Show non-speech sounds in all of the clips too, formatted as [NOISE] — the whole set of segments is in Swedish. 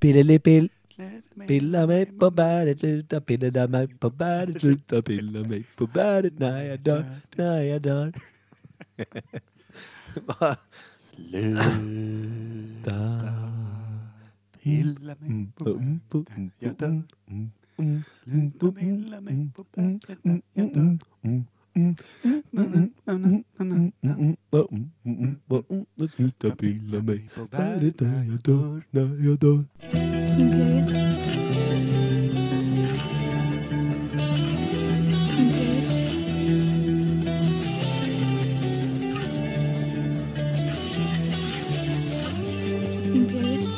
Pillelipill, Kläder mig. pilla mig på bäret, sluta pilla mig på bäret, sluta pilla mig på bäret när jag dör, när jag dör. Va? Da. Pilla Mm. mig på bäret. Jag dör. Sluta pilla mig på bäret när jag dör. Mm. Sluta pilla mig på bäret när jag dör, när jag dör. Imperiet. Imperiet. Imperiet.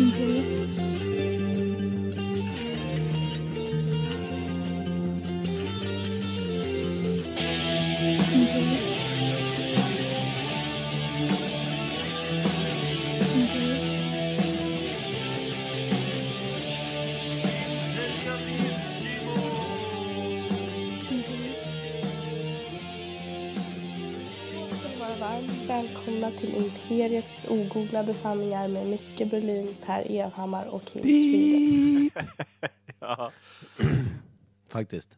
Imperiet. Imperiet. Imperiet. Imperiet. ska ni vara varmt välkomna till Imperiet ogooglade sanningar med Micke Berlin, Per Evhammar och Kim Sweden. Ja. Faktiskt.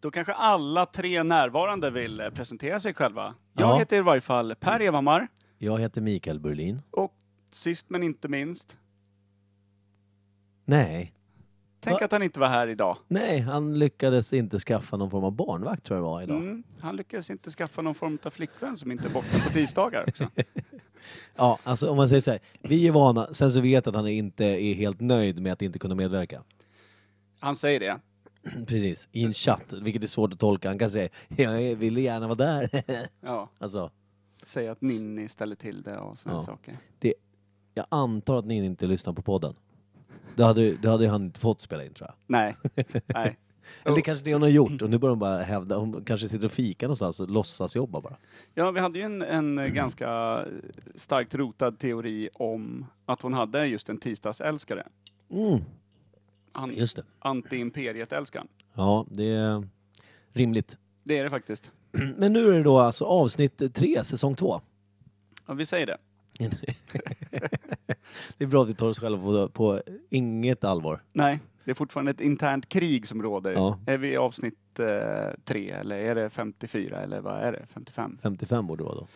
Då kanske alla tre närvarande vill eh, presentera sig själva. Jag Ja. heter i varje fall Per Evhammar Jag heter Mikael Burlin. och sist men inte minst, Nej, tänk Va? att han inte var här idag. nej, han lyckades inte skaffa någon form av barnvakt tror jag det var idag. Mm, han lyckades inte skaffa någon form av flickvän som inte är borta på tisdagar [LAUGHS] också. Ja, alltså om man säger så här, vi är vana, sen så vet jag att han inte är helt nöjd med att inte kunna medverka. [CLEARS THROAT] Han säger det. Precis, i en chatt, vilket är svårt att tolka. Han kan säga, jag ville gärna vara där. [LAUGHS] Ja, alltså, säger att Ninni ställer till det och sådana Ja. saker. det, jag antar att ni inte lyssnar på podden. Då hade, då hade han inte fått spela in tror jag. Nej, nej. Eller det är kanske det hon har gjort och nu börjar hon bara hävda, hon kanske sitter och fikar någonstans och låtsas jobba bara. Ja, vi hade ju en, en ganska starkt rotad teori om att hon hade just en tisdagsälskare. Mm, Han, just det. Anti-imperiet-älskaren. Ja, det är rimligt. Det är det faktiskt. [CLEARS THROAT] Men nu är det då alltså avsnitt tre, säsong [LAUGHS] två. Ja, vi säger det. Det är bra att vi tar oss själva på, på inget allvar. Nej, det är fortfarande ett internt krig som råder. Ja. Är vi i avsnitt eh, tre eller är det 54 eller vad är det? 55? 55 borde det vara då.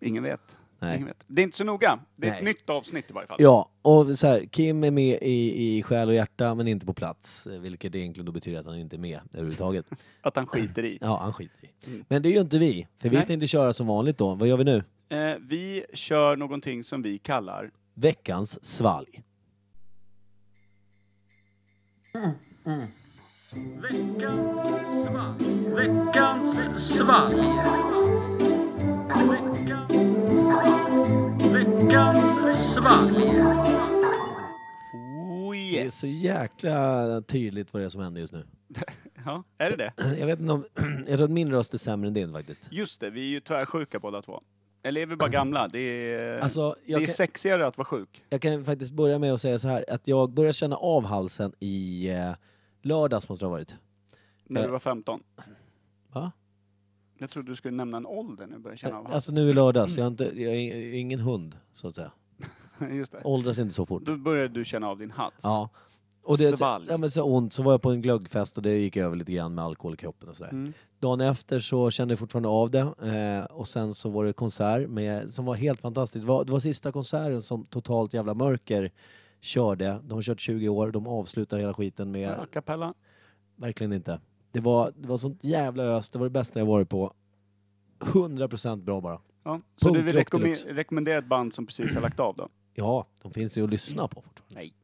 Ingen vet. Nej. Ingen vet. Det är inte så noga. Det är ett Nej. nytt avsnitt i varje fall. Ja, och så här, Kim är med i, i själ och hjärta men inte på plats. eh, Vilket egentligen då betyder att han inte är med överhuvudtaget. Att han skiter i. Ja, han skiter i. Mm. Men det är ju inte vi. För vi Nej. tänkte köra som vanligt då. Vad gör vi nu? Eh, vi kör någonting som vi kallar Veckans svalg. Oh Det är yes! så jäkla tydligt vad det är som händer just nu. [CLEARS THROAT] Ja, är det det? Jag vet inte om... [CLEARS THROAT] Jag tror att min röst är sämre än din faktiskt. Just det, vi är ju tvärsjuka båda två. Eller är vi bara gamla? Det är, Alltså, det är jag kan- sexigare att vara sjuk. Jag kan faktiskt börja med att säga så här att jag börjar känna av halsen i eh, lördags måste det ha varit. När Eh. du var 15. Va? Jag trodde du skulle nämna en ålder när du började känna av Alltså nu i lördags. Jag är, inte, jag är ingen hund så att säga. [LAUGHS] Just det. Åldras inte så fort. Då började du känna av din hals. alltså, Ja. Och det, Svalg. ja, men så ont, så var jag på en glöggfest och det gick över lite grann med alkohol i kroppen och sådär. Mm. Dagen efter så kände jag fortfarande av det eh, och sen så var det konsert med, som var helt fantastiskt. Det var, det var sista konserten som Totalt Jävla Mörker körde. De har kört 20 år, de avslutar hela skiten med, Ja, Kapella. verkligen inte. Det var, det var sånt jävla ös, det var det bästa jag varit på. 100% bra bara. Ja. Så du vill Punkrock rekomme- deluxe. rekommendera ett band som precis har lagt av då? Ja, de finns ju att lyssna på fortfarande. Nej.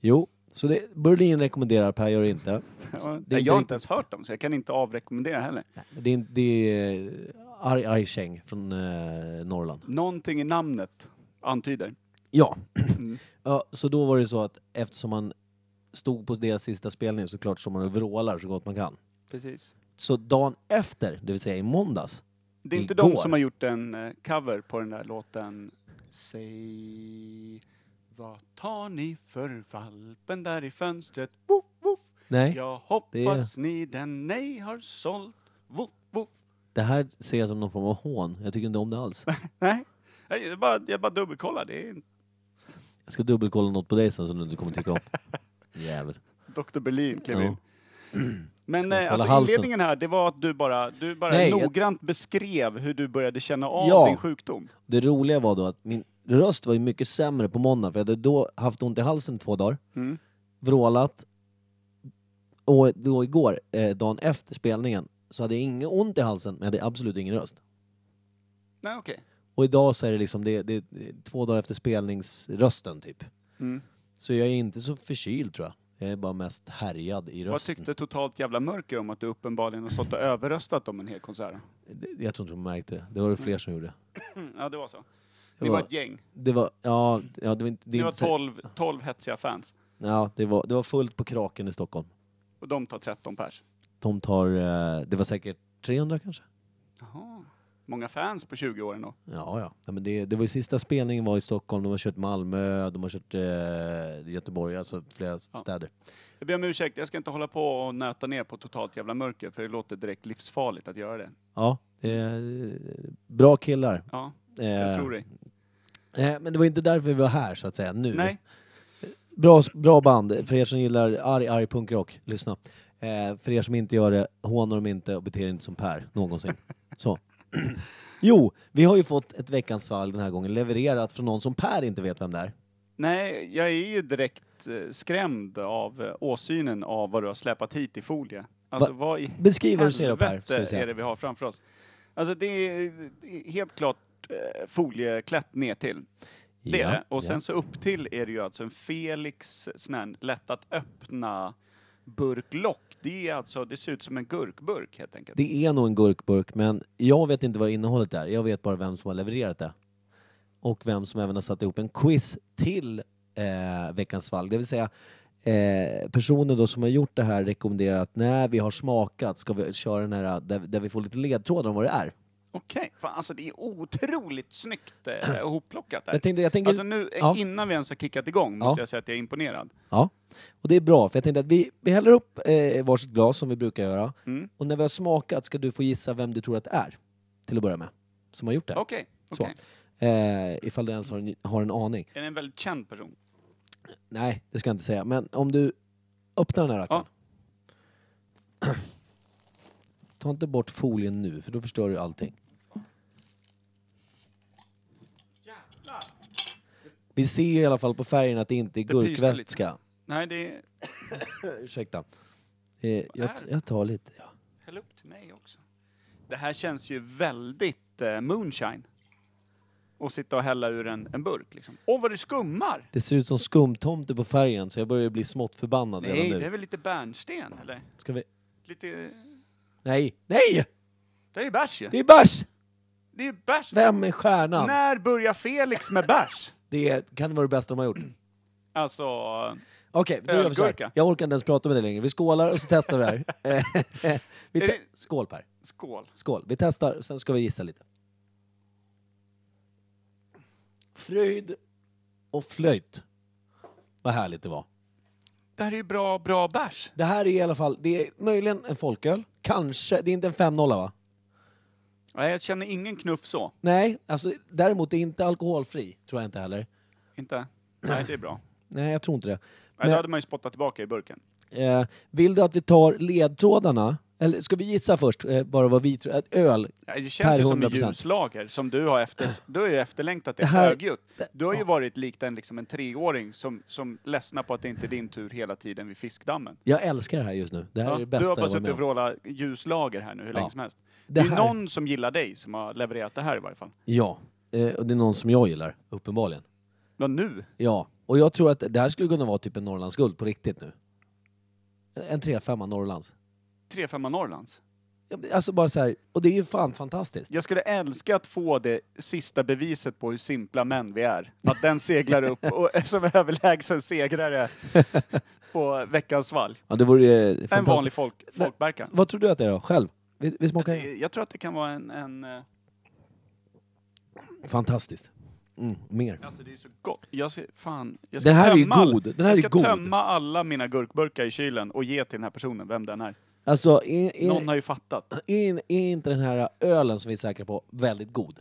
Jo, så det, Berlin rekommenderar, Per gör det inte. Ja, [LAUGHS] Det är jag har inte inte ens hört dem, så jag kan inte avrekommendera heller. Det är, det är Arg Arjseng från eh, Norrland. Någonting i namnet antyder. Ja. Mm. [CLEARS THROAT] ja. Så då var det så att eftersom man stod på deras sista spelning så klart som man och vrålar så gott man kan. Precis. Så dagen efter, det vill säga i måndags, Det är inte Igår. de som har gjort en eh, cover på den där låten Säg vad tar ni för valpen där i fönstret? Woof, woof. nej, Jag hoppas ni den nej har sålt. Woof, woof. det här ser jag som någon form av hån. Jag tycker inte om det alls. Nej, Jag, jag, bara, jag bara dubbelkollar. Det är en Jag ska dubbelkolla något på dig sen som du inte kommer tycka [LAUGHS] om. Jävel. Dr. Berlin klev Ja. [CLEARS THROAT] in. Men Ska jag eh, alltså kolla halsen? inledningen här, det var att du bara, du bara Nej, jag- noggrant beskrev hur du började känna av Ja. din sjukdom. Det roliga var då att min röst var ju mycket sämre på måndag för jag hade då haft ont i halsen i två dagar, Mm. vrålat. Och då igår, eh, dagen efter spelningen, så hade jag inget ont i halsen men jag hade absolut ingen röst. Nej, okej. Och idag så är det liksom, det, det, det är två dagar efter spelningsrösten typ. Mm. Så jag är inte så förkyld tror jag. Jag är bara mest härjad i Vad rösten. tyckte totalt jävla mörker om att du uppenbarligen har stått och överröstat om en hel konsert? [CLEARS THROAT] Det- Jag tror inte de märkte det. Det var det fler som gjorde. Mm, Ja, det var så. Det Ni var var, ett gäng. det var, ja, ja, det var inte... Det är Ni var inte så- 12, 12 hetsiga fans. Ja, det var, det var fullt på Kraken i Stockholm. Och de tar 13 pers. De tar, eh, det var säkert 300 kanske? Jaha. Många fans på 20 år ändå. Ja, ja. ja men det, det var ju sista spelningen var i Stockholm, de har kört Malmö, de har kört eh, Göteborg, alltså flera städer. Jag ber om ursäkt, jag ska inte hålla på och nöta ner på totalt jävla mörker för det låter direkt livsfarligt att göra det. Ja, eh, bra killar. Ja, Eh, jag tror dig. eh, men det var inte därför vi var här så att säga, nu. Nej, Bra, bra band, för er som gillar arg, arg punkrock, lyssna. Eh, för er som inte gör det, håna dem inte och bete er inte som Per, någonsin. Så. [CLEARS THROAT] Jo, vi har ju fått ett veckans svalg den här gången levererat från någon som Per inte vet vem det är. Nej, jag är ju direkt eh, skrämd av eh, åsynen av vad du har släpat hit i folie. Alltså, vad i Beskriv vad du ser då, Per, helvete ska vi säga. är det vi har framför oss? Alltså det är det är helt klart eh, folieklätt ner till. Det är det. Och sen så upp till är det ju alltså en Felix eh, sån här lätt att öppna burklock. Det är alltså, det ser ut som en gurkburk helt enkelt. Det är nog en gurkburk, men jag vet inte vad innehållet är. Jag vet bara vem som har levererat det. Och vem som även har satt ihop en quiz till eh, Veckans fall. Det vill säga, eh, personen då som har gjort det här rekommenderar att när vi har smakat ska vi köra den här där, där vi får lite ledtrådar om vad det är. Okej, fan alltså det är otroligt snyggt [CLEARS THROAT] eh, hopplockat där. Jag tänkte, jag tänker, Alltså nu, eh, Ja. innan vi ens har kickat igång, måste Ja. jag säga att jag är imponerad. Ja, och det är bra för jag tänkte att vi, vi häller upp eh, varsitt glas som vi brukar göra. Mm. Och när vi har smakat ska du få gissa vem du tror att det är. Till att börja med. Som har gjort det. här. Okej, Så. okej. Eh, ifall du ens har en, har en aning. Är det en väldigt känd person? Nej, det ska jag inte säga. Men om du öppnar den här rackaren. Ta inte bort folien nu, för då förstör du allting. Vi ser i alla fall på färgen att det inte är Det pyste lite. gurkvätska. Nej, det är... Ursäkta. Eh, jag, är det? jag tar lite. Ja. Häll upp till mig också. Det här känns ju väldigt eh, moonshine. Och sitta och hälla ur en, en burk liksom. Åh, vad det skummar! Det ser ut som skumtomte på färgen, så jag börjar bli smått förbannad Nej, redan det är nu. väl lite bärnsten, eller? Ska vi... Lite... Nej! Nej! Det är ju bärs ju! Det är bärs! Det är ju bärs! Vem är stjärnan? När börjar Felix med bärs? Det är, kan vara det bästa de har gjort. Alltså... Okej, då gör vi så här. Ölgurka. Jag orkar inte ens prata med dig längre. Vi skålar och så testar vi [LAUGHS] det här. [LAUGHS] vi Är te- det- Skål Per. Skål. Skål. Vi testar, sen ska vi gissa lite. Fröjd och flöjt. Vad härligt det var. Det här är ju bra, bra bärs. Det här är i alla fall, det är möjligen en folköl. Kanske, det är inte en 5-0 va? Nej, jag känner ingen knuff så. Nej, alltså däremot det är inte alkoholfri. Tror jag inte heller. Inte? Nej, det är bra. Nej, jag tror inte det. Nej, Men- då hade man ju spottat tillbaka i burken. Eh, vill du att vi tar ledtrådarna? Eller ska vi gissa först, eh, bara vad vi tror? Att öl, Nej, Det känns Per ju som en 100%. ljuslager som du har, efter, du har ju efterlängtat det Det här- högljutt. det- Du har ju ja. varit likt en, liksom en treåring som, som ledsnar på att det inte är din tur hela tiden vid fiskdammen. Jag älskar det här just nu. Det här Ja, är det du bästa har bara jag varit suttit med och om. vrålat ljuslager här nu hur länge som helst. Det Det är här- någon som gillar dig som har levererat det här i varje fall. Ja, eh, och det är någon som jag gillar, uppenbarligen. Ja, nu? Ja, och jag tror att det här skulle kunna vara typ en Norrlandsguld på riktigt nu. En 3-5 Norrlands. 3-5 Norrlands. Ja, men Alltså bara så här, och det är ju fan fantastiskt. Jag skulle älska att få det sista beviset på hur simpla män vi är. Att den seglar upp [LAUGHS] och är som överlägsen segrare på veckans valg. Ja, det vore ju En fantastiskt. vanlig folk, folkverkan. Vad tror du att det är då, själv? Vi, vi smakar Jag- Eh, Jag tror att det kan vara en... en eh, Fantastiskt. Mm, mer. alltså det är så gott. Jag ska, fan, jag ska Den här är ju tömma all- god. Den här jag är ska god. tömma alla mina gurkburkar i kylen och ge till den här personen, vem den är. Alltså, är, Någon är, har ju fattat. är, är inte den här ölen som vi är säkra på väldigt god?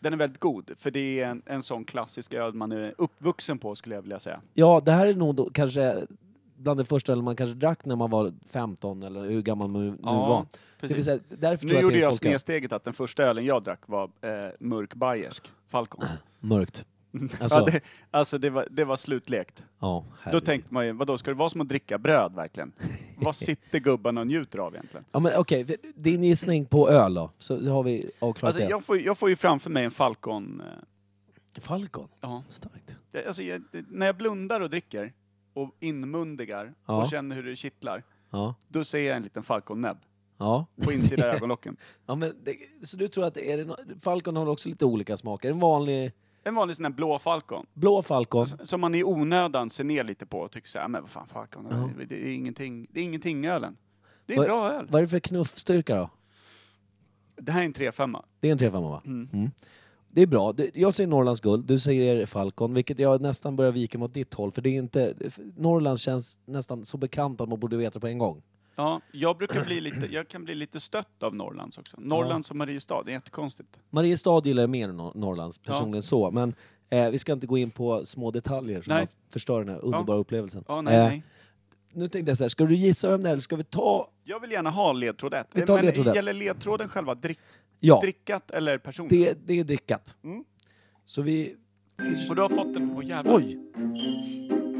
Den är väldigt god, för det är en, en sån klassisk öl man är uppvuxen på skulle jag vilja säga. Ja, det här är nog då, kanske bland det första ölen man kanske drack när man var 15 eller hur gammal man nu Ja, var. Det vill precis. säga, därför Nu tror gjorde jag jag att det är folk snedsteget att den första ölen jag drack var eh, mörk bayersk, Falcon. mörkt. Alltså, Alltså, [LAUGHS] ja, det, alltså det, var, det var slutlekt. ja, Då herregud. tänkte man ju, vadå, ska det vara som att dricka bröd verkligen? [LAUGHS] Vad sitter gubbarna och njuter av egentligen? Ja, men okej, din gissning på öl då? Så då har vi avklarat Alltså, det. jag, får, jag får ju framför mig en Falcon. eh, Falcon? Ja. Starkt. Det- Alltså, jag, det- när jag blundar och dricker och inmundigar Ja. och känner hur det kittlar, Ja. då ser jag en liten Falcon-näbb Ja. på [LAUGHS] insidan av ögonlocken. ja men det, så du tror att är det no- Falcon har också lite olika smaker? En vanlig En vanlig sån här blå Falcon, blå Falcon? som man i onödan ser ner lite på och tycker såhär, men vad fan Falcon, det, det är ingenting, det är ingenting ölen. Det är en Vad- bra öl. Vad är det för knuffstyrka då? Det här är en 3-5. Det är en 3-5 va? Mm. Det är bra. Du- Jag säger Norrlands guld, du säger Falcon, vilket jag nästan börjar vika mot ditt håll. För det är inte... Norrland känns nästan så bekant att man borde veta på en gång. Ja, jag brukar bli lite, jag kan bli lite stött av Norrlands också. Norrlands och Mariestad, det är jättekonstigt. Mariestad gillar jag mer än Nor- Norrlands personligen så, men eh, vi ska inte gå in på små detaljer som Nej. har förstör den här underbara upplevelsen. Ja, nej, Eh, nej. Nu tänkte jag så här, ska du gissa vem det är eller ska vi ta... Jag vill gärna ha ledtråd 1. Vi tar Men ledtråd ett. gäller ledtråden själva drick, Ja, drickat eller personen? det, det är drickat. Mm. Så vi... Och du har fått den... Åh jävlar. Oj!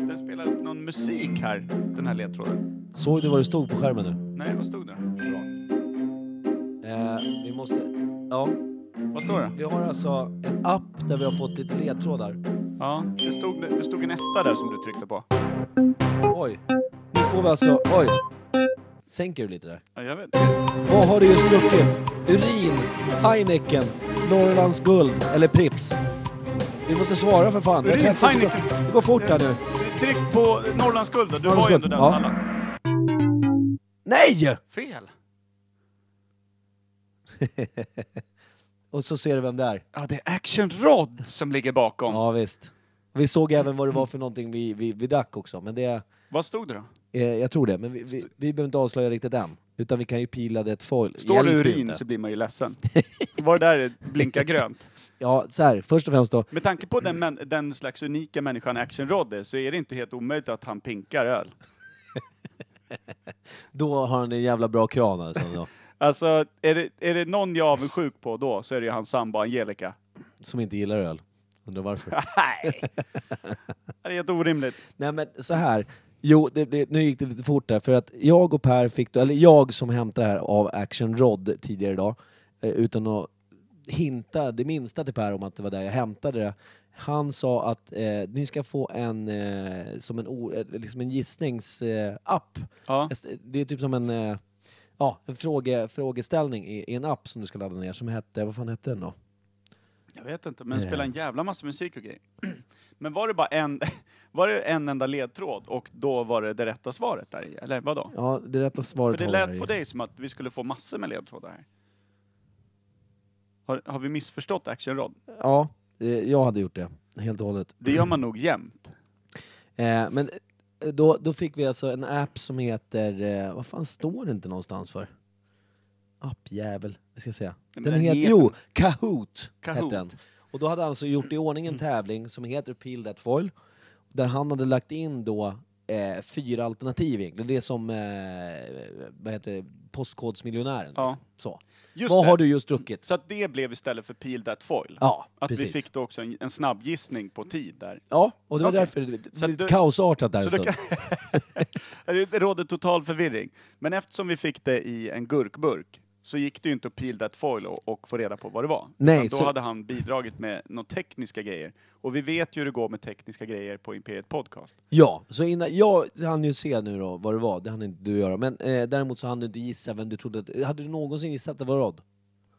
Den spelar upp någon musik här, den här ledtråden. Såg du vad det stod på skärmen nu? Nej, vad stod det? Bra. Eh, vi måste... Ja, Vad står det? vi har alltså en app där vi har fått lite ledtrådar. Ja, det stod, det stod en etta där som du tryckte på. Oj! Nu får vi alltså... Oj! Sänker du lite där? Ja, jag vet. Vad har du just druckit? Urin, Heineken, Norrlands guld eller Prips? Vi måste svara för fan. Urin, Det är 30 sekunder. Heineken. Det går fort här nu. Tryck på Norrlands guld då. Du Norrlands har ju ändå guld, den ja. alla. Nej! Fel. Och så ser du vem det är. Ja, det är Action Rod som ligger bakom. Ja, visst. Vi såg även vad det var för någonting vi, vi, vi drack också, men det... Vad stod det då? Eh, jag tror det, men vi, vi, vi behöver inte avslöja riktigt än. Utan vi kan ju pila det ett foil. Står det Hjälper ju urin inte. så blir man ju ledsen. [LAUGHS] Var det där blinkar grönt? Ja, så här, först och främst då. Med tanke på den, män- den slags unika människan Action Rod är, så är det inte helt omöjligt att han pinkar öl. Då har han en jävla bra kran alltså. Då, Alltså, är det, är det någon jag är avundsjuk på då, så är det ju hans sambo Angelica. som inte gillar öl. Undrar varför. Nej! [LAUGHS] Det är helt orimligt. Nej men så här. Jo, det, det, nu gick det lite fort där, för att jag och Per fick, då- eller jag som hämtade det här av Action Rod tidigare idag, eh, utan att hinta det minsta till Per om att det var där jag hämtade det. Han sa att eh, ni ska få en, eh, som en, o- eh, liksom en gissningsapp. Eh, app. Ja. Det är typ som en, eh, ja, en fråge, frågeställning i, i en app som du ska ladda ner som hette, vad fan hette den då? Jag vet inte, men spela en jävla massa musik och grejer. [CLEARS THROAT] Men var det bara en, [LAUGHS] var det en enda ledtråd och då var det det rätta svaret där i, Eller vadå? Ja, det rätta svaret För det har jag lät i- på dig som att vi skulle få massor med ledtrådar här. Har, har vi missförstått Action Rod? Ja, eh, jag hade gjort det, helt och hållet. Det gör man nog jämt. Eh, men eh, då, då fick vi alltså en app som heter, eh, vad fan står det inte någonstans för? Appjävel, vi ska säga. men Den den heter, heter- jo, Kahoot, Kahoot. Mm. hette den. Och då hade han alltså gjort i ordning en tävling som heter Peel That Foil, där han hade lagt in då eh, fyra alternativ egentligen. Det är som, eh, vad heter det, Postkodsmiljonären. Ja. Liksom. Så. Just vad det. har du just druckit? Så att det blev istället för Peel That Foil. Ja, att precis. vi fick då också en, en snabbgissning på tid där. Ja, och det var Okej. därför det blev Så att lite du- kaosartat där en Så det, stund. kan, [LAUGHS] det råder total förvirring. Men eftersom vi fick det i en gurkburk så gick det ju inte att peel that foil och, och få reda på vad det var. Nej, Utan då så- hade han bidragit med några tekniska grejer. Och vi vet ju hur det går med tekniska grejer på Imperiet Podcast. Ja, så innan, jag hann ju se nu då vad det var, det hann inte du göra. Men eh, däremot så hann du inte gissa vem du trodde att, Hade du någonsin gissat att det var Rod?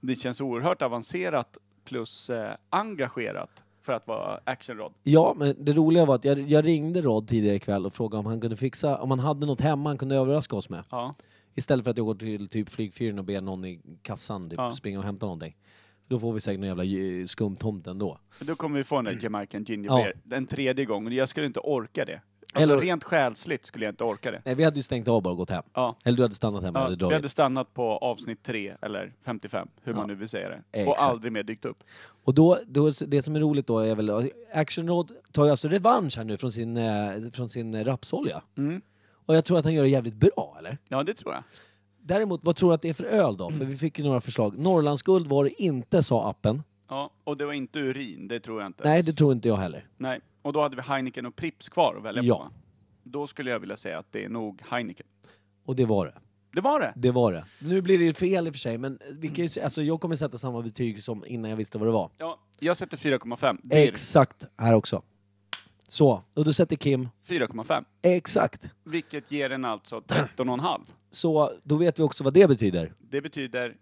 Det känns oerhört avancerat plus eh, engagerat för att vara actionrod. Ja, men det roliga var att jag, jag ringde Rod tidigare ikväll och frågade om han kunde fixa, om han hade något hemma han kunde överraska oss med. Ja. Istället för att jag går till typ flygfyren och ber någon i kassan typ, Ja. springa och hämta någonting. Då får vi säkert någon jävla eh, skumtomte ändå. Då kommer vi få den där Jamaican Ginger Ja. Beer den tredje gången. Jag skulle inte orka det. Alltså, Eller- Rent själsligt skulle jag inte orka det. Nej, Eh, vi hade ju stängt av bara och gått hem. Ja. Eller du hade stannat hemma och Ja, hade vi dragit. hade stannat på avsnitt 3 eller 55, hur man nu vill säga det. Exakt. Och aldrig mer dykt upp. Och då, då, det som är roligt då är väl Action Rod tar ju alltså revansch här nu från sin, eh, från sin eh, rapsolja. Mm. Och jag tror att han gör det jävligt bra, eller? Ja, det tror jag. Däremot, vad tror du att det är för öl då? För vi fick ju några förslag. Norrlandsguld var det inte, sa appen. Ja, och det var inte urin, det tror jag inte. Nej, ens. det tror inte jag heller. Nej. Och då hade vi Heineken och Prips kvar att välja Ja. på. va? Då skulle jag vilja säga att det är nog Heineken. Och det var det. Det var det! Det var det. Nu blir det ju fel i och för sig, men vi kan ju, se- alltså, jag kommer sätta samma betyg som innan jag visste vad det var. Ja, jag sätter 4,5. Det är Exakt här också. Så, och då sätter Kim 4,5. exakt. Vilket ger den alltså 13,5. Så då vet vi också vad det betyder. Det betyder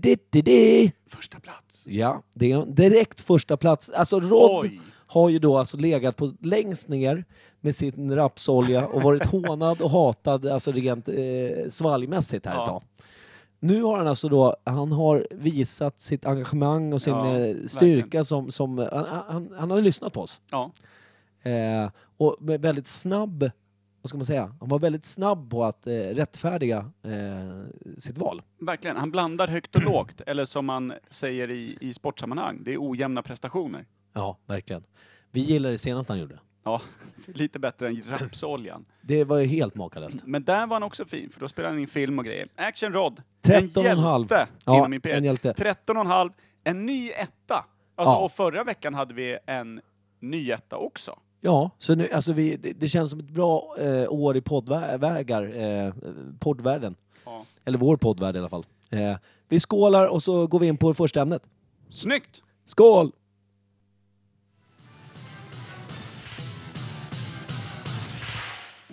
Diddelididdidi. första plats. Ja, det är en direkt första plats. Alltså Rod Oj. har ju då alltså legat på längst ner med sin rapsolja och [LAUGHS] varit hånad och hatad, alltså rent eh, svalgmässigt här Ja. ett tag. Nu har han alltså då, han har visat sitt engagemang och sin Ja, eh, styrka verkligen. som, som eh, han, han, han har lyssnat på oss. Ja, Eh, och med väldigt snabb, vad ska man säga, han var väldigt snabb på att eh, rättfärdiga eh, sitt val. verkligen. Han blandar högt och lågt, eller som man säger i, i sportsammanhang, det är ojämna prestationer. [LAUGHS] Ja, verkligen. Vi gillade det senaste han gjorde. Ja, lite bättre än rapsoljan. Det var ju helt makalöst. Men där var han också fin, för då spelade han in film och grejer. Action Rod, 13,5. en hjälte Ja, inom en imperiet. hjälte. 13,5, en ny etta. Alltså, Ja. och förra veckan hade vi en ny etta också. Ja, så nu, alltså vi, det, det känns som ett bra eh, år i poddvägar, eh, poddvärlden. Ja. Eller vår poddvärld i alla fall. Eh, vi skålar och så går vi in på det första ämnet. Snyggt! Skål!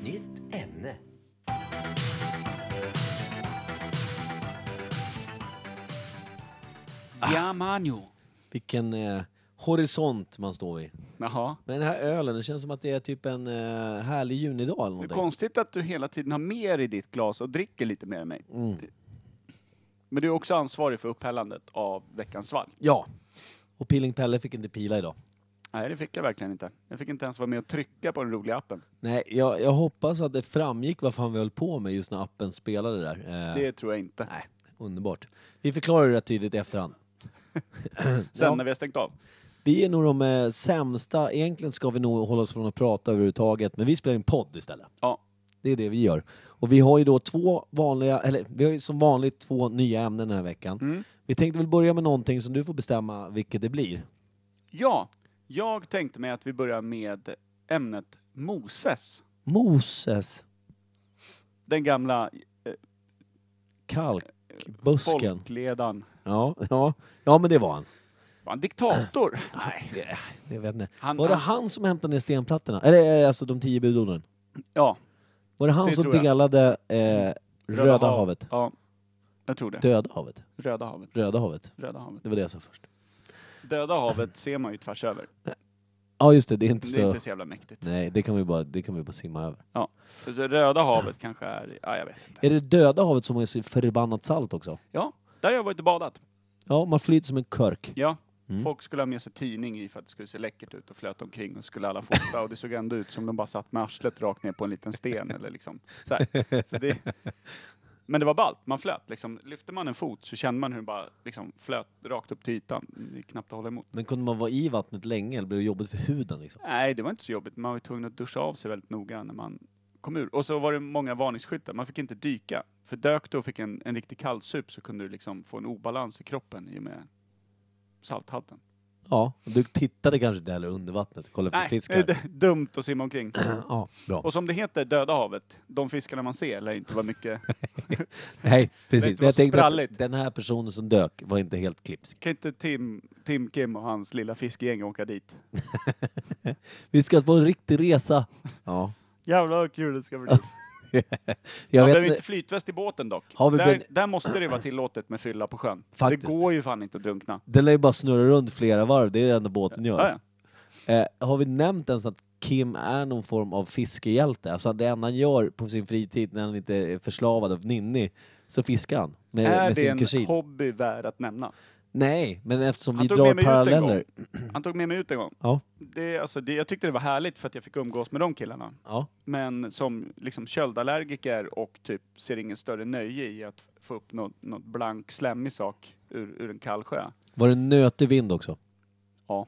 Nytt ämne. Ah. Ja, manjo. Vilken eh, horisont man står vid. Jaha. Men den här ölen, det känns som att det är typ en eh, härlig junidag eller Det är någonting. konstigt att du hela tiden har mer i ditt glas och dricker lite mer än mig. Mm. Men du är också ansvarig för upphällandet av veckans svalg. Ja. Och Pilling Pelle fick inte pila idag. Nej, det fick jag verkligen inte. Jag fick inte ens vara med och trycka på den roliga appen. Nej, jag, jag hoppas att det framgick vad fan vi höll på med just när appen spelade där. Eh, Det tror jag inte. Nej, underbart. Vi förklarar det rätt tydligt i efterhand. Sen Ja. när vi har stängt av. Vi är nog de eh, sämsta, egentligen ska vi nog hålla oss från att prata överhuvudtaget, men vi spelar in podd istället. Ja, Det är det vi gör. Och vi har ju då två vanliga, eller vi har ju som vanligt två nya ämnen den här veckan. Mm. Vi tänkte väl börja med någonting som du får bestämma vilket det blir. Ja, jag tänkte mig att vi börjar med ämnet Moses. Moses, Den gamla kalkbusken. folkledaren. Ja, ja, ja, men det var han. Var [CLEARS THROAT] han diktator? Nej. Det- Jag vet inte. Han- var det han- han som hämtade ner stenplattorna? Eller eh, alltså de tio budorden? Ja, Var det han Det som tror jag. delade eh, Röda, hav- havet? Ja, jag tror det. Döda havet? Röda havet. Röda havet? Röda havet. Det var det jag sa först. Döda havet ser man ju tvärs över. Ja just det, det är inte Det är så... inte så jävla mäktigt. Nej, det kan vi bara, det kan vi bara simma över. Ja. Så det Röda havet kanske är... Ja, jag vet inte. Är det Döda havet som är så förbannat salt också? Ja, där har jag varit och badat. Ja, man flyter som en körk. Ja. Folk skulle ha med sig tidning i för att det skulle se läckert ut och flöt omkring och skulle alla fota och det såg ändå ut som de bara satt med arslet rakt ner på en liten sten eller liksom så här. Så det, Men det var ballt, man flöt liksom. Lyfte man en fot så kände man hur den bara liksom flöt rakt upp till ytan. Det är knappt att hålla emot. Men kunde man vara i vattnet länge eller blev det jobbigt för huden liksom? Nej, det var inte så jobbigt. Man var ju tvungen att duscha av sig väldigt noga när man kom ur. Och så var det många varningsskyltar. Man fick inte dyka. För dök du och fick en, en riktig kallsup så kunde du liksom få en obalans i kroppen i och med salthalten. Ja, och du tittade kanske inte heller under vattnet och kollade efter det är fiskar? d- dumt att simma omkring. Ja, bra. Och som det heter, Döda havet, de fiskarna man ser lär inte [LAUGHS] vara mycket. Nej, Det precis. inte Men var jag så tänkte att spralligt. den här personen som dök var inte helt klipsk. Kan inte Tim, Tim Kim och hans lilla fiskegäng åka dit? Vi ska på en riktig resa. Ja. Jävlar vad kul det ska bli. [LAUGHS] Jag Man vet behöver inte. inte flytväst i båten dock. Har vi där, blivit- där måste det vara tillåtet med fylla på sjön. Faktiskt. Det går ju fan inte att drunkna. Den lär ju bara snurra runt flera varv, det är det enda båten gör. Ja, ja. Eh, har vi nämnt ens att Kim är någon form av fiskehjälte? Alltså det enda han gör på sin fritid när han inte är förslavad av Ninni, så fiskar han med, Är med det sin en kusin. hobby värd att nämna? Nej, men eftersom Han vi tog med drar mig ut en gång. paralleller. Han tog med mig ut en gång. Ja. Det, alltså, det, jag tyckte det var härligt för att jag fick umgås med de killarna. Ja. Men som liksom köldallergiker och typ ser ingen större nöje i att få upp något, något blank, slemmig sak ur, ur en kall sjö. Var det nötig vind också? Ja.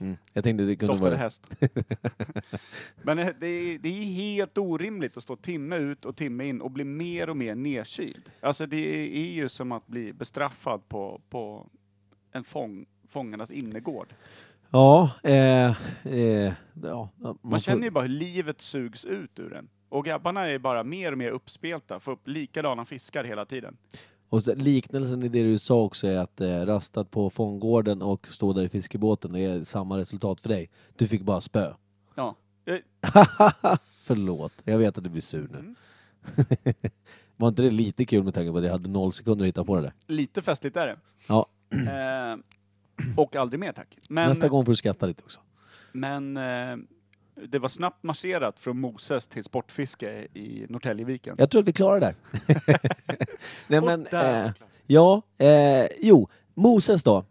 Mm. Jag tänkte det kunde vara Doftade det. häst. [LAUGHS] Men eh, det, är- det är helt orimligt att stå timme ut och timme in och bli mer och mer nedkyld. Alltså det är ju som att bli bestraffad på, på en fång, fångarnas innergård. Ja, eh, eh, ja. Man, Man känner får, ju bara hur livet sugs ut ur en. Och grabbarna är bara mer och mer uppspelta, får upp likadana fiskar hela tiden. och så, liknelsen i det du sa också är att eh, rastat på fångården och stå där i fiskebåten, det är samma resultat för dig. Du fick bara spö. Ja. Eh, Förlåt, jag vet att du blir sur Mm. nu. [LAUGHS] Var inte det lite kul med tanke på att jag hade noll sekunder att hitta på det där? Lite festligt är det. Ja, Eh, och aldrig mer tack. Men, Mm. nästa gång får du skratta lite också. men eh, det var snabbt marscherat från Moses till sportfiske i Norrtäljeviken. Jag tror att vi klarar det där. [LAUGHS] Nej, Och men, där eh, ja, eh, jo, Moses då.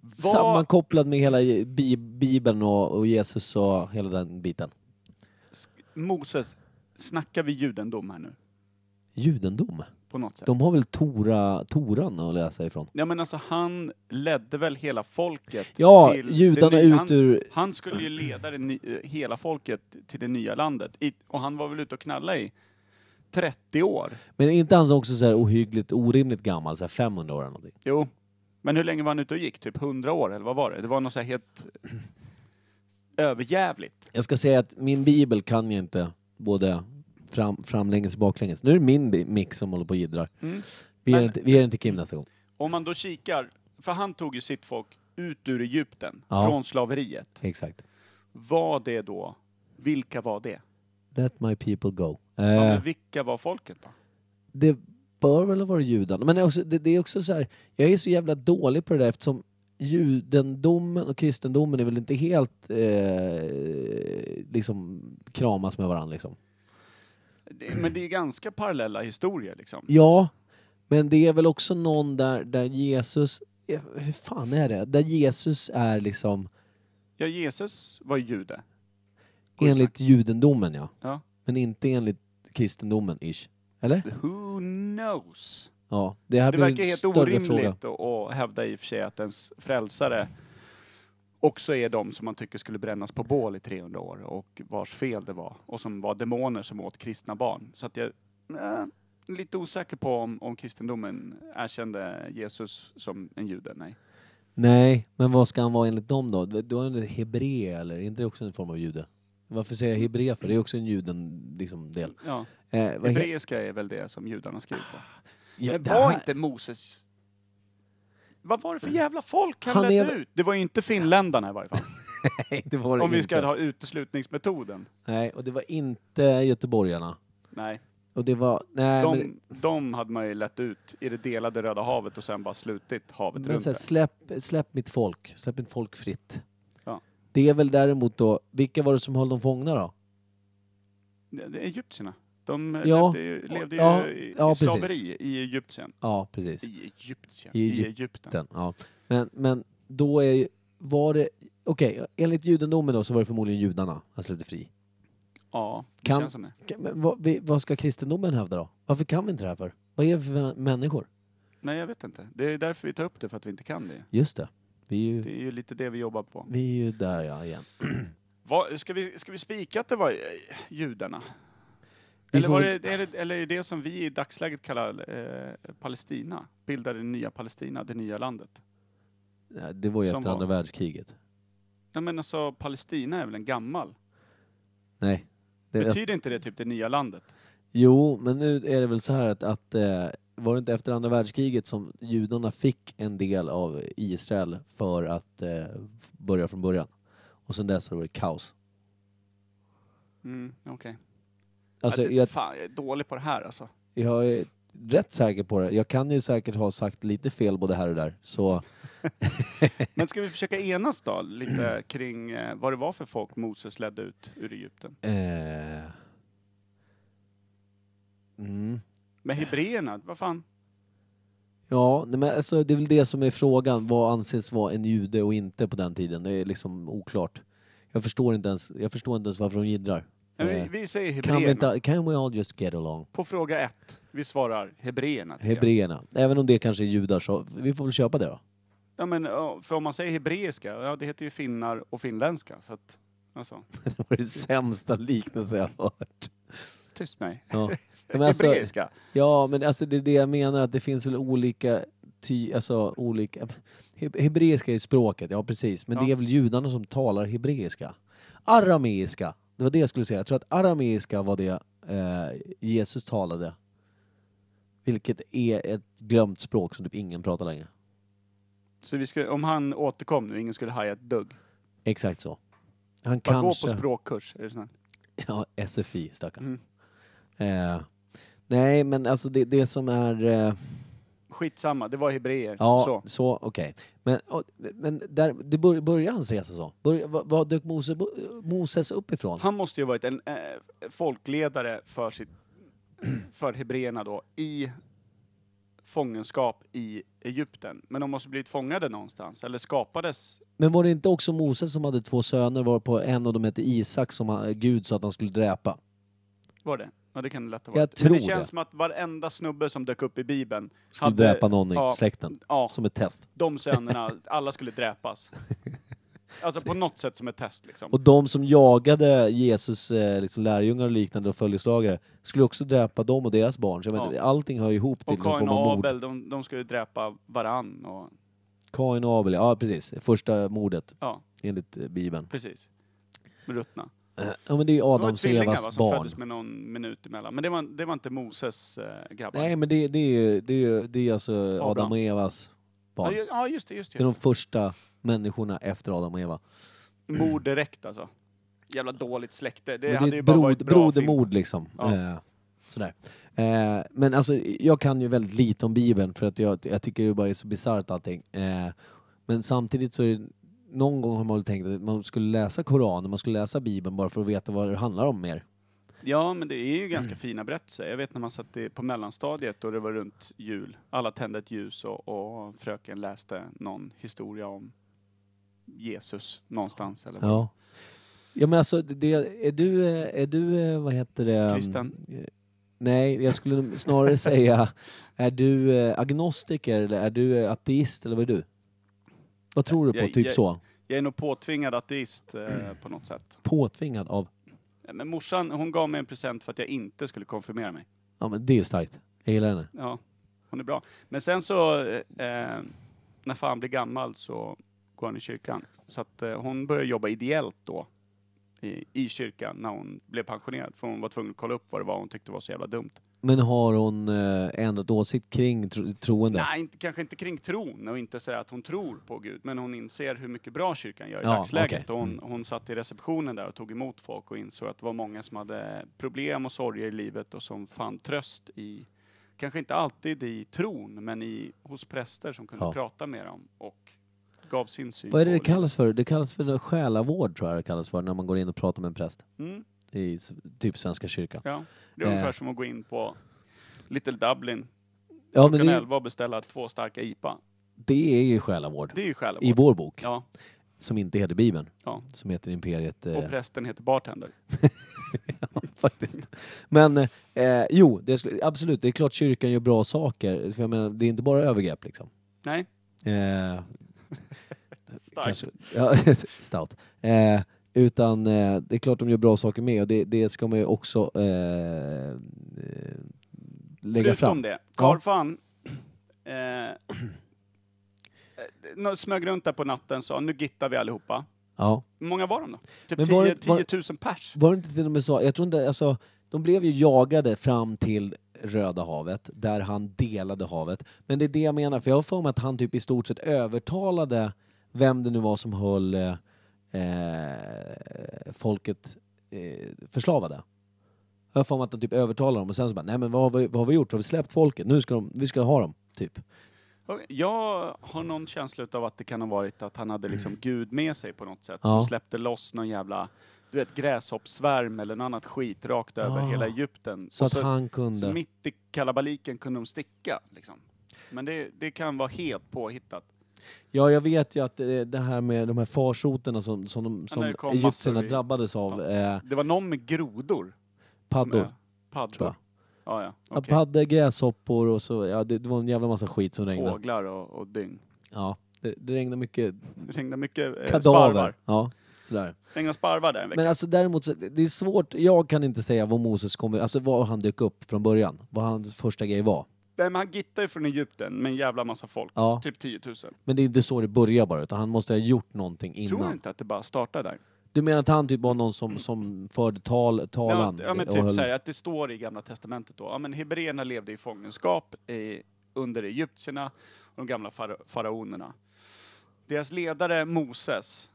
Vad- Sammankopplad med hela bi- Bibeln och, och Jesus och hela den biten. Sk- Moses, snackar vi judendom här nu? Judendom. På något sätt? De har väl Tora, Toran att läsa ifrån? Ja men alltså han ledde väl hela folket Ja, till... det judarna nya- ut han, ur... han skulle ju leda det ny, eh, hela folket till det nya landet. I, och han var väl ute och knalla i 30 år? Men är inte han också så här ohyggligt, orimligt gammal, så här 500 år eller någonting? Jo. Men hur länge var han ute och gick? Typ 100 år eller vad var det? Det var något så här helt [CLEARS THROAT] överjävligt. Jag ska säga att min bibel kan jag inte både fram, framlänges och baklänges. Nu är det min bi- mix som håller på och jiddrar. Mm. Vi ger Men- den till- vi ger den till Kim nästa gång. Om man då kikar, för han tog ju sitt folk ut ur Egypten, Ja. från slaveriet. Exakt. Var det då, vilka var det? Let my people go. Ja, Eh, men vilka var folket då? det bör väl vara judarna. Men det är också, det, det är också så här, jag är så jävla dålig på det där eftersom judendomen och kristendomen är väl inte helt eh, liksom kramas med varandra liksom. Det, men det är ganska parallella historier liksom. Ja, men det är väl också någon där, där Jesus, eh, hur fan är det? Där Jesus är liksom Ja, Jesus var jude. Går det enligt judendomen ja. Ja. Men inte enligt kristendomen ish. Eller? Who knows? Ja, det här Det blir en verkar helt större fråga. orimligt att, att hävda i och för sig att ens frälsare också är de som man tycker skulle brännas på bål i 300 år och vars fel det var och som var demoner som åt kristna barn. Så att jag eh, är lite osäker på om, om kristendomen erkände Jesus som en jude. Nej. Nej, men vad ska han vara enligt dem då? Då är det hebré eller? Är inte det också en form av jude? Varför säger jag hebré för? Det är också en juden liksom, del. Ja. Eh, vad he- Hebreiska är väl det som judarna skriver på. ja, Men det [LAUGHS] var här- inte Moses... Vad var det för jävla folk han, Han ledde är- ut? Det var ju inte finländarna i varje fall. Nej, det var det Om vi inte. ska ha uteslutningsmetoden. Nej, och det var inte göteborgarna. Nej, Och det var... Nej, men, de, de hade man ju lett ut i det delade Röda havet och sen bara slutit havet men runt så här, det. släpp, släpp mitt folk. Släpp mitt folk fritt. Ja. Det är väl däremot då, vilka var det som höll dem fångna då? Det- det är Egyptierna. De Ja. levde ju, levde ju Ja, i, ja, i precis. slaveri i Egyptien. Ja, precis. I Egyptien? I I Egypten. Den, ja. men, men då är ju- var det... Okej, enligt judendomen då så var det förmodligen judarna han släppte fri. Ja, det Kan- känns som det. Kan- Men vad, vi- vad ska kristendomen hävda då? Varför kan vi inte det här för? Vad är det för människor? Nej, jag vet inte. Det är därför vi tar upp det, för att vi inte kan det. Just det. Vi är ju, Det är ju lite det vi jobbar på. vi är ju där ja, igen. Vad- ska, vi, ska vi spika att det var eh, judarna? Vi Eller, får var väl- det, är det, eller är det som vi i dagsläget kallar eh, Palestina? Bildar det nya Palestina, det nya landet? Ja, Det var ju Som efter andra världskriget. Nej men alltså, Palestina är väl en gammal? Nej. Det, jag, Betyder inte det typ det nya landet? jo, men nu är det väl så här att, att eh, var det inte efter andra världskriget som judarna fick en del av Israel för att eh, f- börja från början? Och sen dess har det varit kaos. Mm, okej. Alltså, Ja, det- jag, Fan, jag är dålig på det här alltså. jag är rätt säker på det. Jag kan ju säkert ha sagt lite fel både här och där. Så Men ska vi försöka enas [CLEARS THROAT] då, lite kring eh, vad det var för folk Moses ledde ut ur Egypten? Eh. Mm. Men hebreerna, vad fan? Ja, nej, men alltså, det är väl det som är frågan. Vad anses vara en jude och inte på den tiden? Det är liksom oklart. Jag förstår inte ens, jag förstår inte ens varför de jiddrar. Men Eh, Vi, vi säger Can we, hebreerna. ta- can we all just get along? På fråga ett, vi svarar hebreerna. tycker jag. Hebreerna. Även om det kanske är judar så vi får väl köpa det då. [LAUGHS] Ja, men, ja, för om man säger hebreiska, ja, det heter ju finnar och finländska. Så att, alltså, Det var det sämsta liknelse jag har [LAUGHS] hört. tyst med dig. Ja. [LAUGHS] Men alltså, hebreiska. ja, men alltså det är det jag menar att det finns väl olika ty, alltså olika. He- Hebreiska är språket, ja precis. Men Ja. det är väl judarna som talar hebreiska. Arameiska, det var det jag skulle säga. Jag tror att arameiska var det eh, Jesus talade. Vilket är ett glömt språk som typ ingen pratar längre. Så vi skulle, om han återkom nu, ingen skulle haja ett dugg. Exakt så. Han Bara kanske... gå på språkkurs. Är det sån här? [LAUGHS] Ja, SFI stackarn. Mm. Eh, nej, men alltså det, det som är... Eh, Skitsamma, det var hebreer. ja, så, Så. okej. Men, och, men där, det bör, börjar hans resa så? Bör, vad, vad dök Moses, Moses upp ifrån? Han måste ju ha varit en eh, folkledare för, sitt, [CLEARS THROAT] för hebreerna då, i fångenskap i Egypten. Men de måste blivit fångade någonstans, eller skapades. Men var det inte också Moses som hade två söner var på en av dem hette Isak som han, Gud sa att han skulle dräpa? Var det? Ja, det kan det lätt ha Jag varit. tror Men det känns det. som att varenda snubbe som dök upp i Bibeln Skulle dräpa någon i ja, släkten Ja, som ett test. de sönerna, alla skulle [LAUGHS] dräpas. Alltså på något sätt som ett test liksom. Och de som jagade Jesus eh, liksom lärjungar och liknande och följeslagare skulle också dräpa dem och deras barn. Så jag Ja. vet, allting hör ju ihop till Och någon Kain form och av mord. Abel, de, de skulle dräpa varann och Kain och Abel, ja precis. Första mordet ja, enligt eh, Bibeln. precis. Ruttna. Eh, Ja men det är Det var Adams och tvillingar, va, Evas som barn. föddes med någon minut emellan. Men det var, det var inte Moses eh, grabbar. Nej men det, det, är, ju- det, är, ju- det är alltså Adam och Evas ja, barn. ju- ja, just det, just det. Det är de Just första människorna efter Adam och Eva. det. Mord direkt alltså. Jävla dåligt släkte. Det Men hade det är ju bara varit brod, bra film. brodermord liksom. Ja. Eh, sådär. Eh, men alltså, jag kan ju väldigt lite om Bibeln för att jag, jag tycker det bara är så bisarrt allting. Eh, men samtidigt så är det, någon gång har man väl tänkt att man skulle läsa Koranen, man skulle läsa Bibeln bara för att veta vad det handlar om mer. Ja, men det är ju ganska fina berättelser. Jag vet när man satt i, på mellanstadiet och det var runt jul. Alla tände ett ljus och, och fröken läste någon historia om Jesus någonstans. Eller vad. Ja. Ja men alltså, det, är du, eh, är du, eh, vad heter det? Kristen? Eh, Nej, jag skulle [LAUGHS] nog snarare säga, är du eh, agnostiker eller är du eh, ateist eller vad är du? Vad tror du på? Jag- typ jag- så? Jag är nog påtvingad ateist eh, på något sätt. Påtvingad av? Men morsan, hon gav mig en present för att jag inte skulle konfirmera mig. Ja men det är starkt. Jag gillar henne. Ja, hon är bra. Men sen så, eh, eh, när fan blir gammal så går han i kyrkan. Så att eh, hon började jobba ideellt då i, i kyrkan när hon blev pensionerad. För hon var tvungen att kolla upp vad det var hon tyckte var så jävla dumt. Men har hon eh, ändrat åsikt kring tro, troende? Nej, inte, kanske inte kring tron och inte säga att hon tror på Gud, men hon inser hur mycket bra kyrkan gör i Ja, dagsläget. okej. Och hon, Mm. hon satt i receptionen där och tog emot folk och insåg att det var många som hade problem och sorger i livet och som fann tröst i, kanske inte alltid i tron, men i, hos präster som kunde Ja. prata med dem och gav sin syn. Vad är det på det kallas för? Det kallas för själavård tror jag det kallas för när man går in och pratar med en präst Mm, i s- typ Svenska kyrkan. ja. Det är Eh. ungefär som att gå in på Little Dublin Ja men klockan det, 11 och beställa två starka IPA. det är ju själavård. Det är ju I själavård. vår bok. Ja, som inte heter Bibeln. Ja. Som heter Imperiet. Eh, och [LAUGHS] prästen heter bartender. faktiskt. Men eh, jo, det skulle, absolut, det är klart kyrkan gör bra saker. För jag menar, det är inte bara övergrepp liksom. Nej, Eh, starkt. kanske, ja, [LAUGHS] stout. Eh, utan eh, det är klart de gör bra saker med och det, det ska man ju också eh, eh, lägga Förutom fram. det, Carl van eh, eh, nå- smög runt där på natten och sa nu gittar vi allihopa. Ja. Hur många var de då? Typ Men var 10 det- var- 10 000 pers? Var det inte till och med så, jag tror inte, alltså, de blev ju jagade fram till Röda havet, där han delade havet. Men det är det jag menar, för jag har för mig att han typ i stort sett övertalade vem det nu var som höll eh, eh, folket eh, förslavade. Jag har för mig att de typ övertalade dem och sen så bara, nej men vad har vi, vad har vi gjort? Har vi släppt folket? Nu ska de, vi ska ha dem, typ. Och Jag har någon känsla av att det kan ha varit att han hade liksom Gud med sig på något sätt. Ja. Som släppte loss någon jävla, du vet gräshoppsvärm eller något annat skit rakt över Ah. hela Egypten. Så Och att han kunde... så mitt i kalabaliken kunde de sticka liksom. Men det, det kan vara helt påhittat. Ja, jag vet ju att eh, det här med de här farsoterna som, som, de, som när det kom egyptierna massor i- drabbades av, eh, Det var någon med grodor. som paddor. ö. Paddor. Tror Ja, ja. Ja, okej. Paddor, gräshoppor och så, ja det, det var en jävla massa skit som regnade. Fåglar och, och dyng. Ja, det, det regnade mycket Det regnade mycket eh, kadaver. sparvar. Ja, sådär. Det regnade sparvar där en vecka. Men alltså däremot, så, det är svårt, jag kan inte säga vad Moses kommer, alltså vad han dök upp från början. Vad hans första grej var. Nej, men han gittar ju från Egypten med en jävla massa folk. Ja, Typ 10 000. men det är inte så det börjar bara, utan han måste ha gjort någonting Tror du innan. inte att det bara startar där? Du menar att han typ var någon som, som förde tal, Ja, talan? ja, men eh, och typ höll- så här, att det står i Gamla Testamentet då. Ja, men hebreerna levde i fångenskap i, under egyptierna och de gamla fara, faraonerna. Deras ledare Moses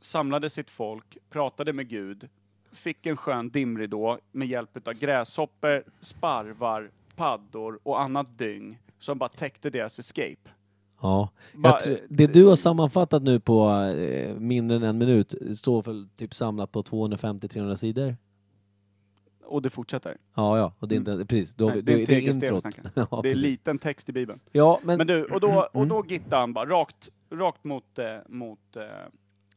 samlade sitt folk, pratade med Gud, fick en skön dimridå med hjälp av gräshoppor, sparvar, paddor och annat dyng som bara täckte deras escape. Ja. Bara, Jag tror, det du har sammanfattat nu på eh, mindre än en minut står väl typ samlat på 250-300 sidor? Och det fortsätter. Ja, ja. Och det är inte, precis. Då, har vi- Mm. Nej, det är en det är tredje steg vi introt. snackar. [LAUGHS] ja, det är precis. liten text i Bibeln. ja, men, Men du, och då, Mm. och då gittade han bara rakt, rakt mot, eh, mot eh,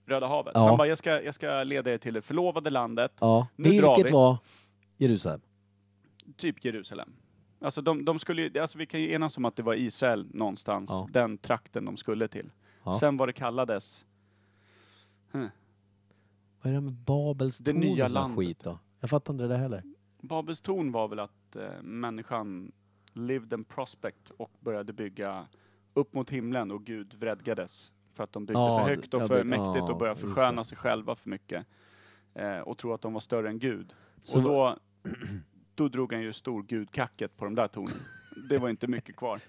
Röda havet. Ja. Han bara, jag ska, jag ska leda er till det förlovade landet, ja, nu drar vilket vi. var Jerusalem? typ Jerusalem. Alltså, de, de skulle, ju- alltså vi kan ju enas om att det var Israel någonstans, Ja. den trakten de skulle till. Ja. Sen vad det kallades, Vad är det här med Babels Det torn nya och sån landet. skit då? Jag fattar inte det där [LAUGHS] heller. Babels torn var väl att eh, människan lived and prospect och började bygga upp mot himlen och Gud vredgades för att de byggde Ja, för högt ja, och för det- mäktigt ja, och började just det. försköna sig själva för mycket eh, och tro att de var större än Gud. Så och då, [CLEARS THROAT] då drog han ju stor gudkacket på de där tornen. Det var inte [LAUGHS] mycket kvar.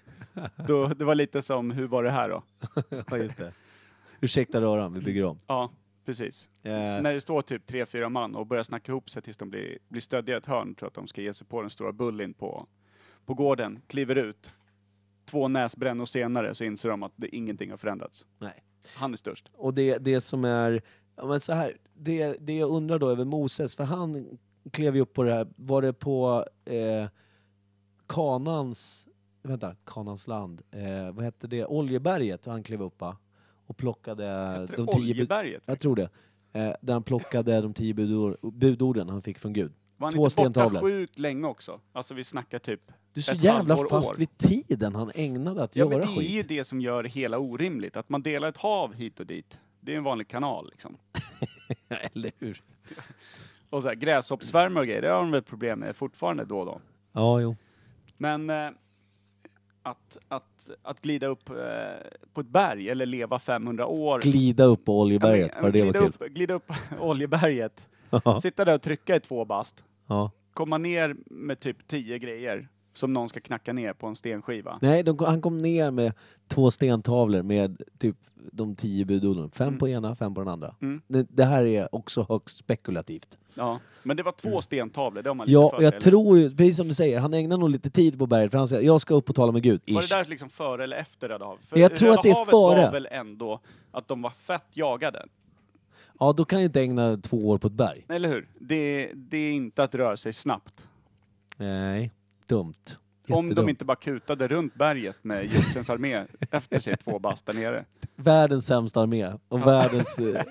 Då, det var lite som, hur var det här då? ja, just det. [LAUGHS] Ursäkta röran, vi bygger om. Ja, precis. Eh, När det står typ tre, fyra man och börjar snacka ihop sig tills de blir, blir stöddiga i ett hörn, tror att de ska ge sig på den stora bullin på, på gården, kliver ut. Två näsbrännor senare så inser de att det, ingenting har förändrats. nej. Han är störst. Och det, det som är... Ja, men så här, det, det jag undrar då över Moses, för han klev ju upp på det här, var det på eh, Kanans, vänta, Kanans land, eh, vad hette det, Oljeberget han klev upp va? Och plockade Heter de det tio bud, Oljeberget? jag tror det, eh, där han plockade de tio budor, budorden han fick från Gud. Var han två inte borta stentavlor. sjukt länge också? Alltså vi snackar typ... Du är så Ett jävla halvår, år. fast vid tiden han ägnade att Ja, men göra det är skit. ju det som gör det hela orimligt, att man delar ett hav hit och dit. Det är en vanlig kanal liksom. [LAUGHS] Eller hur? Och så här, gräshoppsvärme och grejer, det har de väl problem med fortfarande då och då. Ja, jo. Men eh, att, att, att glida upp eh, på ett berg eller leva 500 år. Glida upp på Ja, men, Oljeberget, ja, bara det var glida kul. upp, glida upp [LAUGHS] Oljeberget, Ja, sitta där och trycka i två bast, ja. komma ner med typ 10 grejer som någon ska knacka ner på en stenskiva. Nej, de, han kom ner med två stentavlor med typ de tio budorden. Fem på ena, fem på den andra. Mm. Det, det här är också högst spekulativt. Ja. Men det var två stentavlor, det har man lite Mm. Ja, för och sig, jag eller? tror ju, precis som du säger, han ägnar nog lite tid på berget för han säger jag ska upp och tala med Gud. Var Ish. det där liksom före eller efter Röda havet? För Jag tror Röda att det är havet före. var väl ändå att de var fett jagade, Ja, då kan jag inte ägna två år på ett berg. eller hur? Det, det är inte att röra sig snabbt. Nej, dumt. Om de Jättedumt. inte bara kutade runt berget med Egyptiens armé efter sig två bast där nere. Världens sämsta armé och världens [LAUGHS] eh,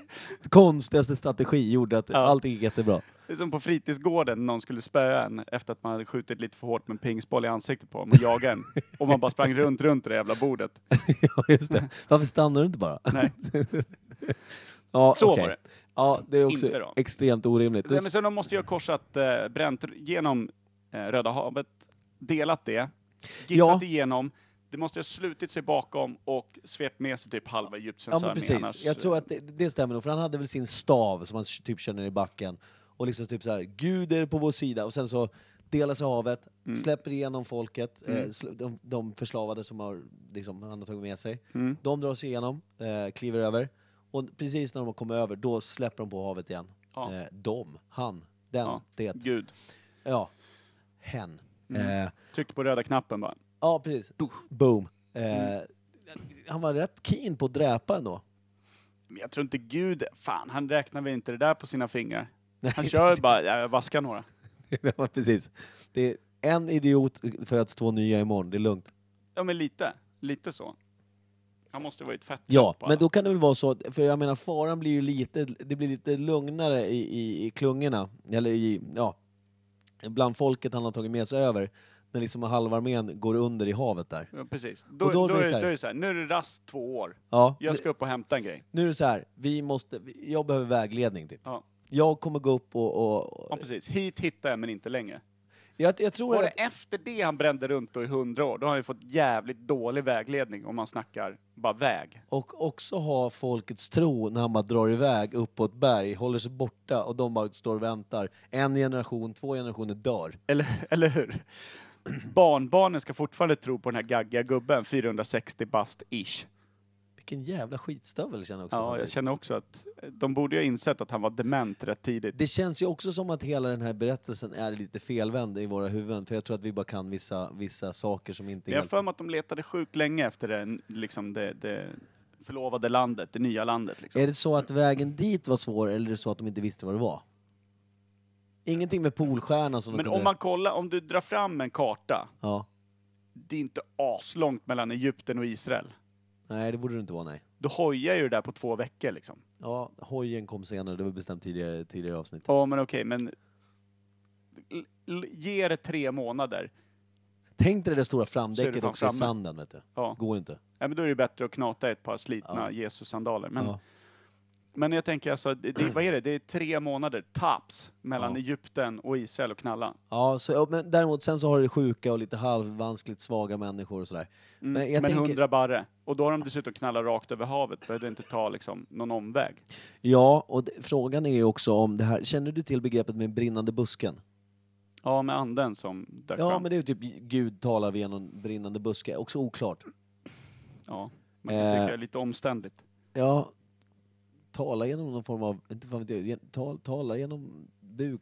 konstigaste strategi gjorde att Ja. allting gick jättebra. [LAUGHS] Det är som på fritidsgården när någon skulle spöa en efter att man hade skjutit lite för hårt med en pingsboll i ansiktet på dem och jagat en. Och man bara sprang runt, runt det jävla bordet. ja, just det. Varför stannar du inte bara? Nej. [LAUGHS] Ja, Så okej. var det. Ja, det är också Inte då. extremt orimligt. Nej, Men sen de måste ju ha korsat, eh, bränt genom eh, Röda havet, delat det, gittat Ja. igenom. Det måste ha slutit sig bakom och svept med sig typ Ja, halva Egyptiens men armé. precis. Annars, Jag tror att det, det stämmer nog, för han hade väl sin stav som han typ känner i backen. Och liksom typ så här, Gud är på vår sida. Och sen så delar sig havet, Mm. släpper igenom folket, eh, sl- de, de förslavade som har, liksom, han har tagit med sig. Mm. De drar sig igenom, eh, kliver över. Och precis när de har kommit över, då släpper de på havet igen. Ja. Eh, de, han, den, eh, Ja. det, Gud, ja, hen. Mm. Eh, tryckte på röda knappen bara. ja, precis. Boom. Eh, Mm. Han var rätt keen på att dräpa ändå. Men jag tror inte Gud, fan han räknar väl inte det där på sina fingrar. [LAUGHS] Han kör bara, ja, jag vaskar några. ja, precis. Det är en idiot föds två nya imorgon, det är lugnt. Ja, men lite. Lite så. Han måste vara i ett fett Ja, trapp bara. men då kan det väl vara så, att- för jag menar faran blir ju lite, det blir lite lugnare i, i, i klungorna, eller i, ja, bland folket han har tagit med sig över, när liksom halva armén går under i havet där. Ja, precis. Då, Och då, då blir är, det så här- då är det så här, nu är det rast två år. Ja, Jag ska upp och hämta en grej. nu är det så här, vi måste, jag behöver vägledning typ. Ja, Jag kommer gå upp och, och, ja precis. Hit hittar jag, men inte längre. jag, jag tror Var det att, efter det han brände runt då i hundra år, då har han ju fått jävligt dålig vägledning om man snackar bara väg. och också ha folkets tro när han bara drar iväg upp på ett berg, håller sig borta och de bara står och väntar. En generation, två generationer dör. Eller, [LAUGHS] eller hur? Barnbarnen ska fortfarande tro på den här gaggiga gubben, 460 bast-ish. Vilken jävla skitstövel känner jag också. Ja, jag samtidigt. känner också att eh, de borde ju ha insett att han var dement rätt tidigt. Det känns ju också som att hela den här berättelsen är lite felvänd i våra huvuden, för jag tror att vi bara kan vissa, vissa saker som inte Men är jag har helt... för mig att de letade sjukt länge efter det, liksom det, det förlovade landet, det nya landet. Liksom. Är det så att vägen dit var svår, eller är det så att de inte visste vad det var? Ingenting med Polstjärnan som de Men kunde... om man kollar, om du drar fram en karta, Ja. det är inte aslångt mellan Egypten och Israel. Nej, det borde det inte vara, nej. Du hojar ju det där på två veckor liksom. Ja, hojen kom senare, det var bestämt tidigare, tidigare avsnitt. Ja men okej, men l- l- ge det tre månader. Tänk dig det stora Så är det framdäcket fan också i framme. sanden, vet du. Ja. Går inte. Ja, men då är det bättre att knata ett par slitna Ja. Jesus-sandaler. Men, Ja. men jag tänker alltså, det, det, vad är det? Det är tre månader, taps, mellan Ja. Egypten och Israel och knalla. Mm. Ja, så, ja, men däremot sen så har du sjuka och lite halvvanskligt svaga människor och sådär. Mm, Men jag men tänker- 100 barre. Och då har de dessutom knallat rakt över havet, behövde inte ta liksom, någon omväg. Ja, och det, frågan är ju också om det här, känner du till begreppet med brinnande busken? Ja, med anden som dök Ja, fram. men det är ju typ Gud talar via någon brinnande buske, också oklart. Ja, man kan tycka Eh. det är lite omständligt. Ja, tala genom någon form av, inte fan vet jag, gen- tal, tala genom buk,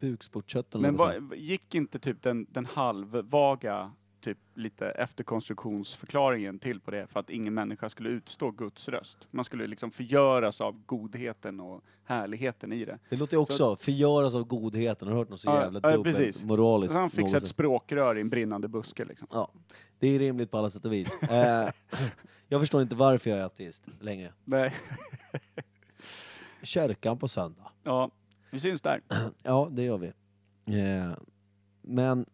bukspottkörteln. Men eller något sånt. vad- gick inte typ den, den halvvaga, typ lite efterkonstruktionsförklaringen till på det för att ingen människa skulle utstå Guds röst? Man skulle liksom förgöras av godheten och härligheten i det. Det låter ju också, förgöras av godheten, har du hört något så Ja, jävla ja, dubbelt precis. moraliskt? Så han fixade ett någonsin? språkrör i en brinnande buske liksom. Ja, det är rimligt på alla sätt och [LAUGHS] vis. eh, jag förstår inte varför jag är ateist längre. Nej. [LAUGHS] Kyrkan på söndag. Ja, vi syns där. Ja, det gör vi. Eh, men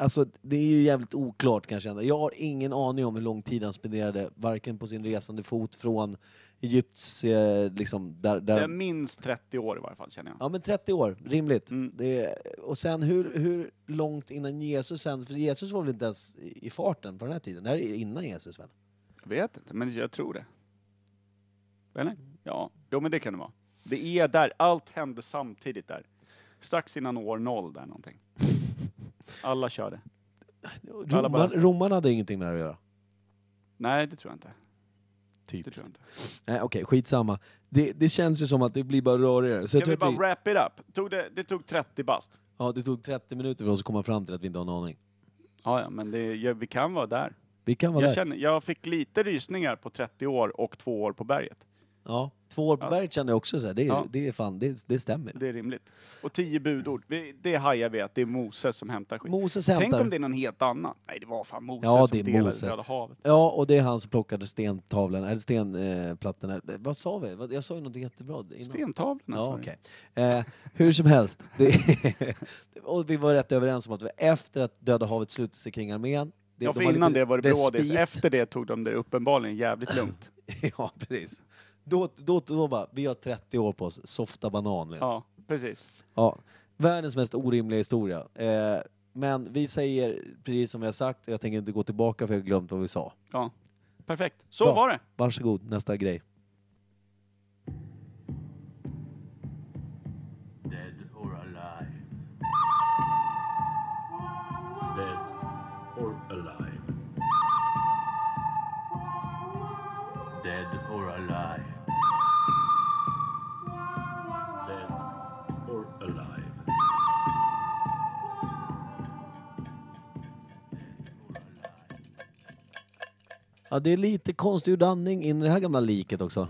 alltså, det är ju jävligt oklart kan jag känna. Jag har ingen aning om hur lång tid han spenderade, varken på sin resande fot från Egypts, eh, liksom, där... Det är där minst 30 år i varje fall känner jag. ja men 30 år, rimligt. Mm. Det är, och sen hur, hur långt innan Jesus sen, för Jesus var väl inte ens i i farten på den här tiden? Det här är innan Jesus väl? Jag vet inte, men jag tror det. Eller? Ja, jo men det kan det vara. Det är där, allt hände samtidigt där. Strax innan år noll där någonting. Alla körde. Alla bara- Roman, romarna hade ingenting med det här att göra. Nej, det tror jag inte. Det tror Typiskt. jag inte. Nej okej, skitsamma. Det, det känns ju som att det blir bara rörigare. Så jag Kan vi tror bara att vi, wrap it up? Tog det, det tog 30 bast. ja, det tog 30 minuter för oss att komma fram till att vi inte har en aning. Ja, ja, men det, ja, vi kan vara där. Vi kan vara Jag, där. känner, jag fick lite rysningar på 30 år och två år på berget. Ja, två år på Ja. berget känner jag också så här. Det, är, Ja. det är fan, det, det stämmer. Det är rimligt. Och 10 budord. Vi, det hajar vi att det är Moses som hämtar skit. Moses Tänk hämtar. om det är någon helt annan. Nej, det var fan Moses Ja, som det är delade Moses. Röda havet. Ja, och det är han som plockade stentavlan, eller stenplattorna. Vad sa vi? Vad- Jag sa ju något jättebra innan. alltså. Stentavlorna Ja, sa du. okej. eh, hur som helst. Det [LAUGHS] och vi var rätt överens om att vi- efter att Döda havet slutade sig kring armén. det- Ja, de för har innan lite det var det brådis. respit. Efter det tog de det uppenbarligen jävligt [CLEARS THROAT] lugnt. [LAUGHS] ja, precis. Då, då, då bara, vi har 30 år på oss, softa banan. Ja. Ja, precis. Ja, världens mest orimliga historia. Eh, men vi säger precis som vi har sagt, och jag tänker inte gå tillbaka för jag har glömt vad vi sa. Ja. Perfekt. Så Bra. var det. Varsågod, nästa grej. Dead or alive. Dead or alive. Dead or alive. Dead or alive. Ja, det är lite konstgjord andning in i det här gamla liket [LAUGHS] också.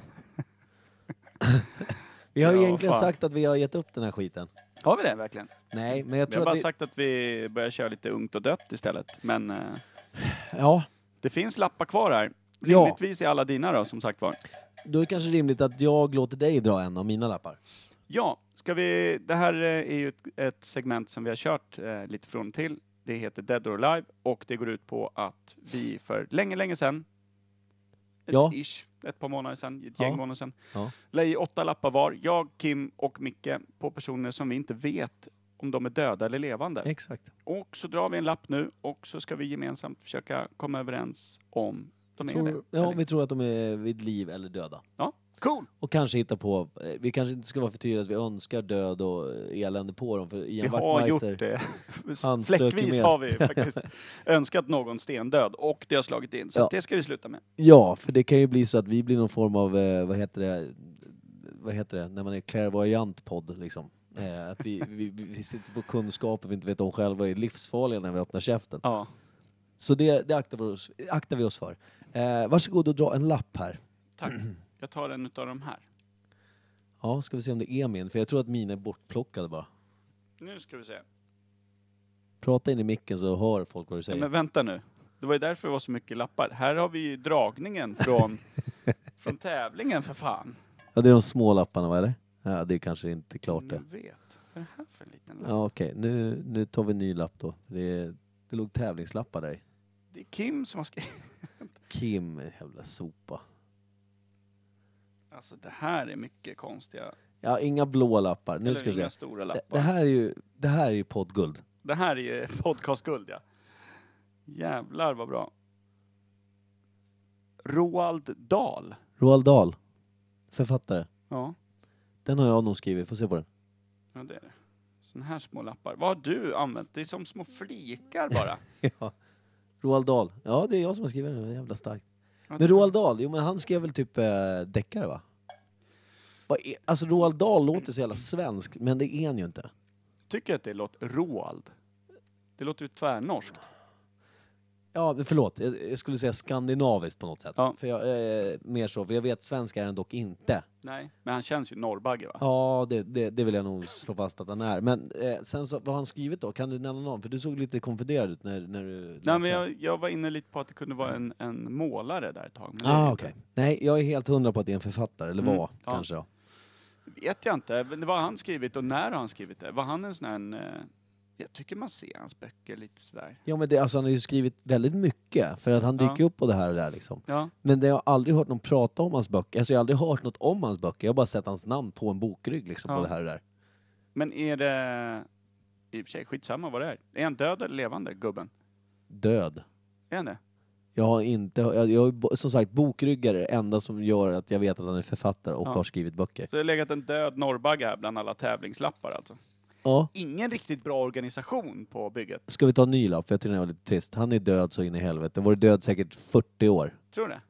vi har ju Ja, egentligen fan. sagt att vi har gett upp den här skiten. Har vi det verkligen? Nej, men jag Vi tror har bara att vi... sagt att vi börjar köra lite ungt och dött istället. Men eh, Ja, Det finns lappar kvar här. Ja. Rimligtvis är alla dina då, som sagt var. då är det kanske rimligt att jag låter dig dra en av mina lappar. Ja, ska vi... Det här eh, är ju ett, ett segment som vi har kört eh, lite från och till. Det heter Dead or Alive och det går ut på att vi för länge, länge sedan, ett, Ja. ish, ett par månader sedan, ett Ja. gäng månader sedan, Ja. la i åtta lappar var, jag, Kim och Micke, på personer som vi inte vet om de är döda eller levande. Exakt. Och så drar vi en lapp nu och så ska vi gemensamt försöka komma överens om de är det. Tror, ja, eller- vi tror att de är vid liv eller döda. ja. Cool! Och kanske hitta på, eh, vi kanske inte ska vara för tydliga att vi önskar död och eh, elände på dem för Vi Ian har gjort Wachtmeister... det. [LAUGHS] Han strök ju Fläckvis mest. har [LAUGHS] vi faktiskt önskat någon stendöd och det har slagit in. Så Ja. det ska vi sluta med. Ja, för det kan ju bli så att vi blir någon form av, eh, vad heter det, vad heter det, när man är clairvoyant podd liksom. Eh, att vi, vi, vi sitter på kunskaper vi inte vet om själva och är livsfarliga när vi öppnar käften. Ja. Så det, det aktar, vi oss, aktar vi oss för. Eh, varsågod och dra en lapp här. Tack. Jag tar en utav de här. Ja, ska vi se om det är min, för jag tror att mina är bortplockade bara. Nu ska vi se. Prata in i micken så hör folk vad du Ja, säger. men vänta nu. Det var ju därför det var så mycket lappar. Här har vi ju dragningen [LAUGHS] från, från tävlingen för fan. Ja, det är de små lapparna va, eller? Ja, det är kanske inte klart Nu det. vet. Vad är det här för en liten lapp? Ja, okej. Nu, nu tar vi en ny lapp då. Det, det låg tävlingslappar där i. Det är Kim som har skrivit. [LAUGHS] Kim, jävla sopa. Alltså det här är mycket konstiga. Ja, inga blå lappar. Nu Eller ska vi se. inga stora Det, lappar. det här är ju, det här är ju poddguld. Det här är ju [LAUGHS] podcastguld, ja. Jävlar vad bra. Roald Dahl. Roald Dahl, författare. Ja, Den har jag nog skrivit, får se [LAUGHS] på den. ja det är det. Såna här små lappar. Vad har du använt? Det är som små flikar [LAUGHS] bara. Ja. Roald Dahl. Ja, det är jag som har skrivit den. Jävla starkt. Ja, det- Men Roald Dahl, jo men han skrev väl typ eh, deckare va? Vad är- Alltså Roald Dahl låter så jävla svensk, men det är han ju inte. Tycker att det låter Roald? Det låter ju tvärnorskt. Ja, men förlåt. Jag, jag skulle säga skandinaviskt på något sätt. Ja. För jag, eh, mer så, för jag vet svenska är han dock inte. Nej, men han känns ju norrbagge va? Ja, det, det, det vill jag nog slå fast att han är. Men eh, sen så, vad har han skrivit då? Kan du nämna någon? För du såg lite konfunderad ut när, när du... läste. Nej, men jag, jag var inne lite på att det kunde vara en, en målare där ett tag. Men det är det Ah, inte. okej. Nej, jag är helt hundra på att det är en författare, eller Mm, var ja. kanske. då. vet jag inte. Men vad har han skrivit och när har han skrivit det? Var han en sån här... En, eh, jag tycker man ser hans böcker lite sådär. Ja, men det, alltså, han har ju skrivit väldigt mycket, för att han Ja. dyker upp på det här och där liksom. Ja. Men det, jag har aldrig hört någon prata om hans böcker. Alltså, jag har aldrig hört något om hans böcker. Jag har bara sett hans namn på en bokrygg liksom, Ja. på det här och där. Men är det... I och för sig, skitsamma vad det är. Är han död eller levande, gubben? Död. Är han det? Jag har inte, jag, jag, har bo- som sagt, bokryggar är det enda som gör att jag vet att han är författare och Ja. har skrivit böcker. Så det har legat en död norrbagge här bland alla tävlingslappar alltså. Ja. Ingen riktigt bra organisation på bygget. Ska vi ta en ny lapp? För jag tycker den var lite trist. Han är död så in i helvete. Han har varit död säkert 40 år. Tror du det?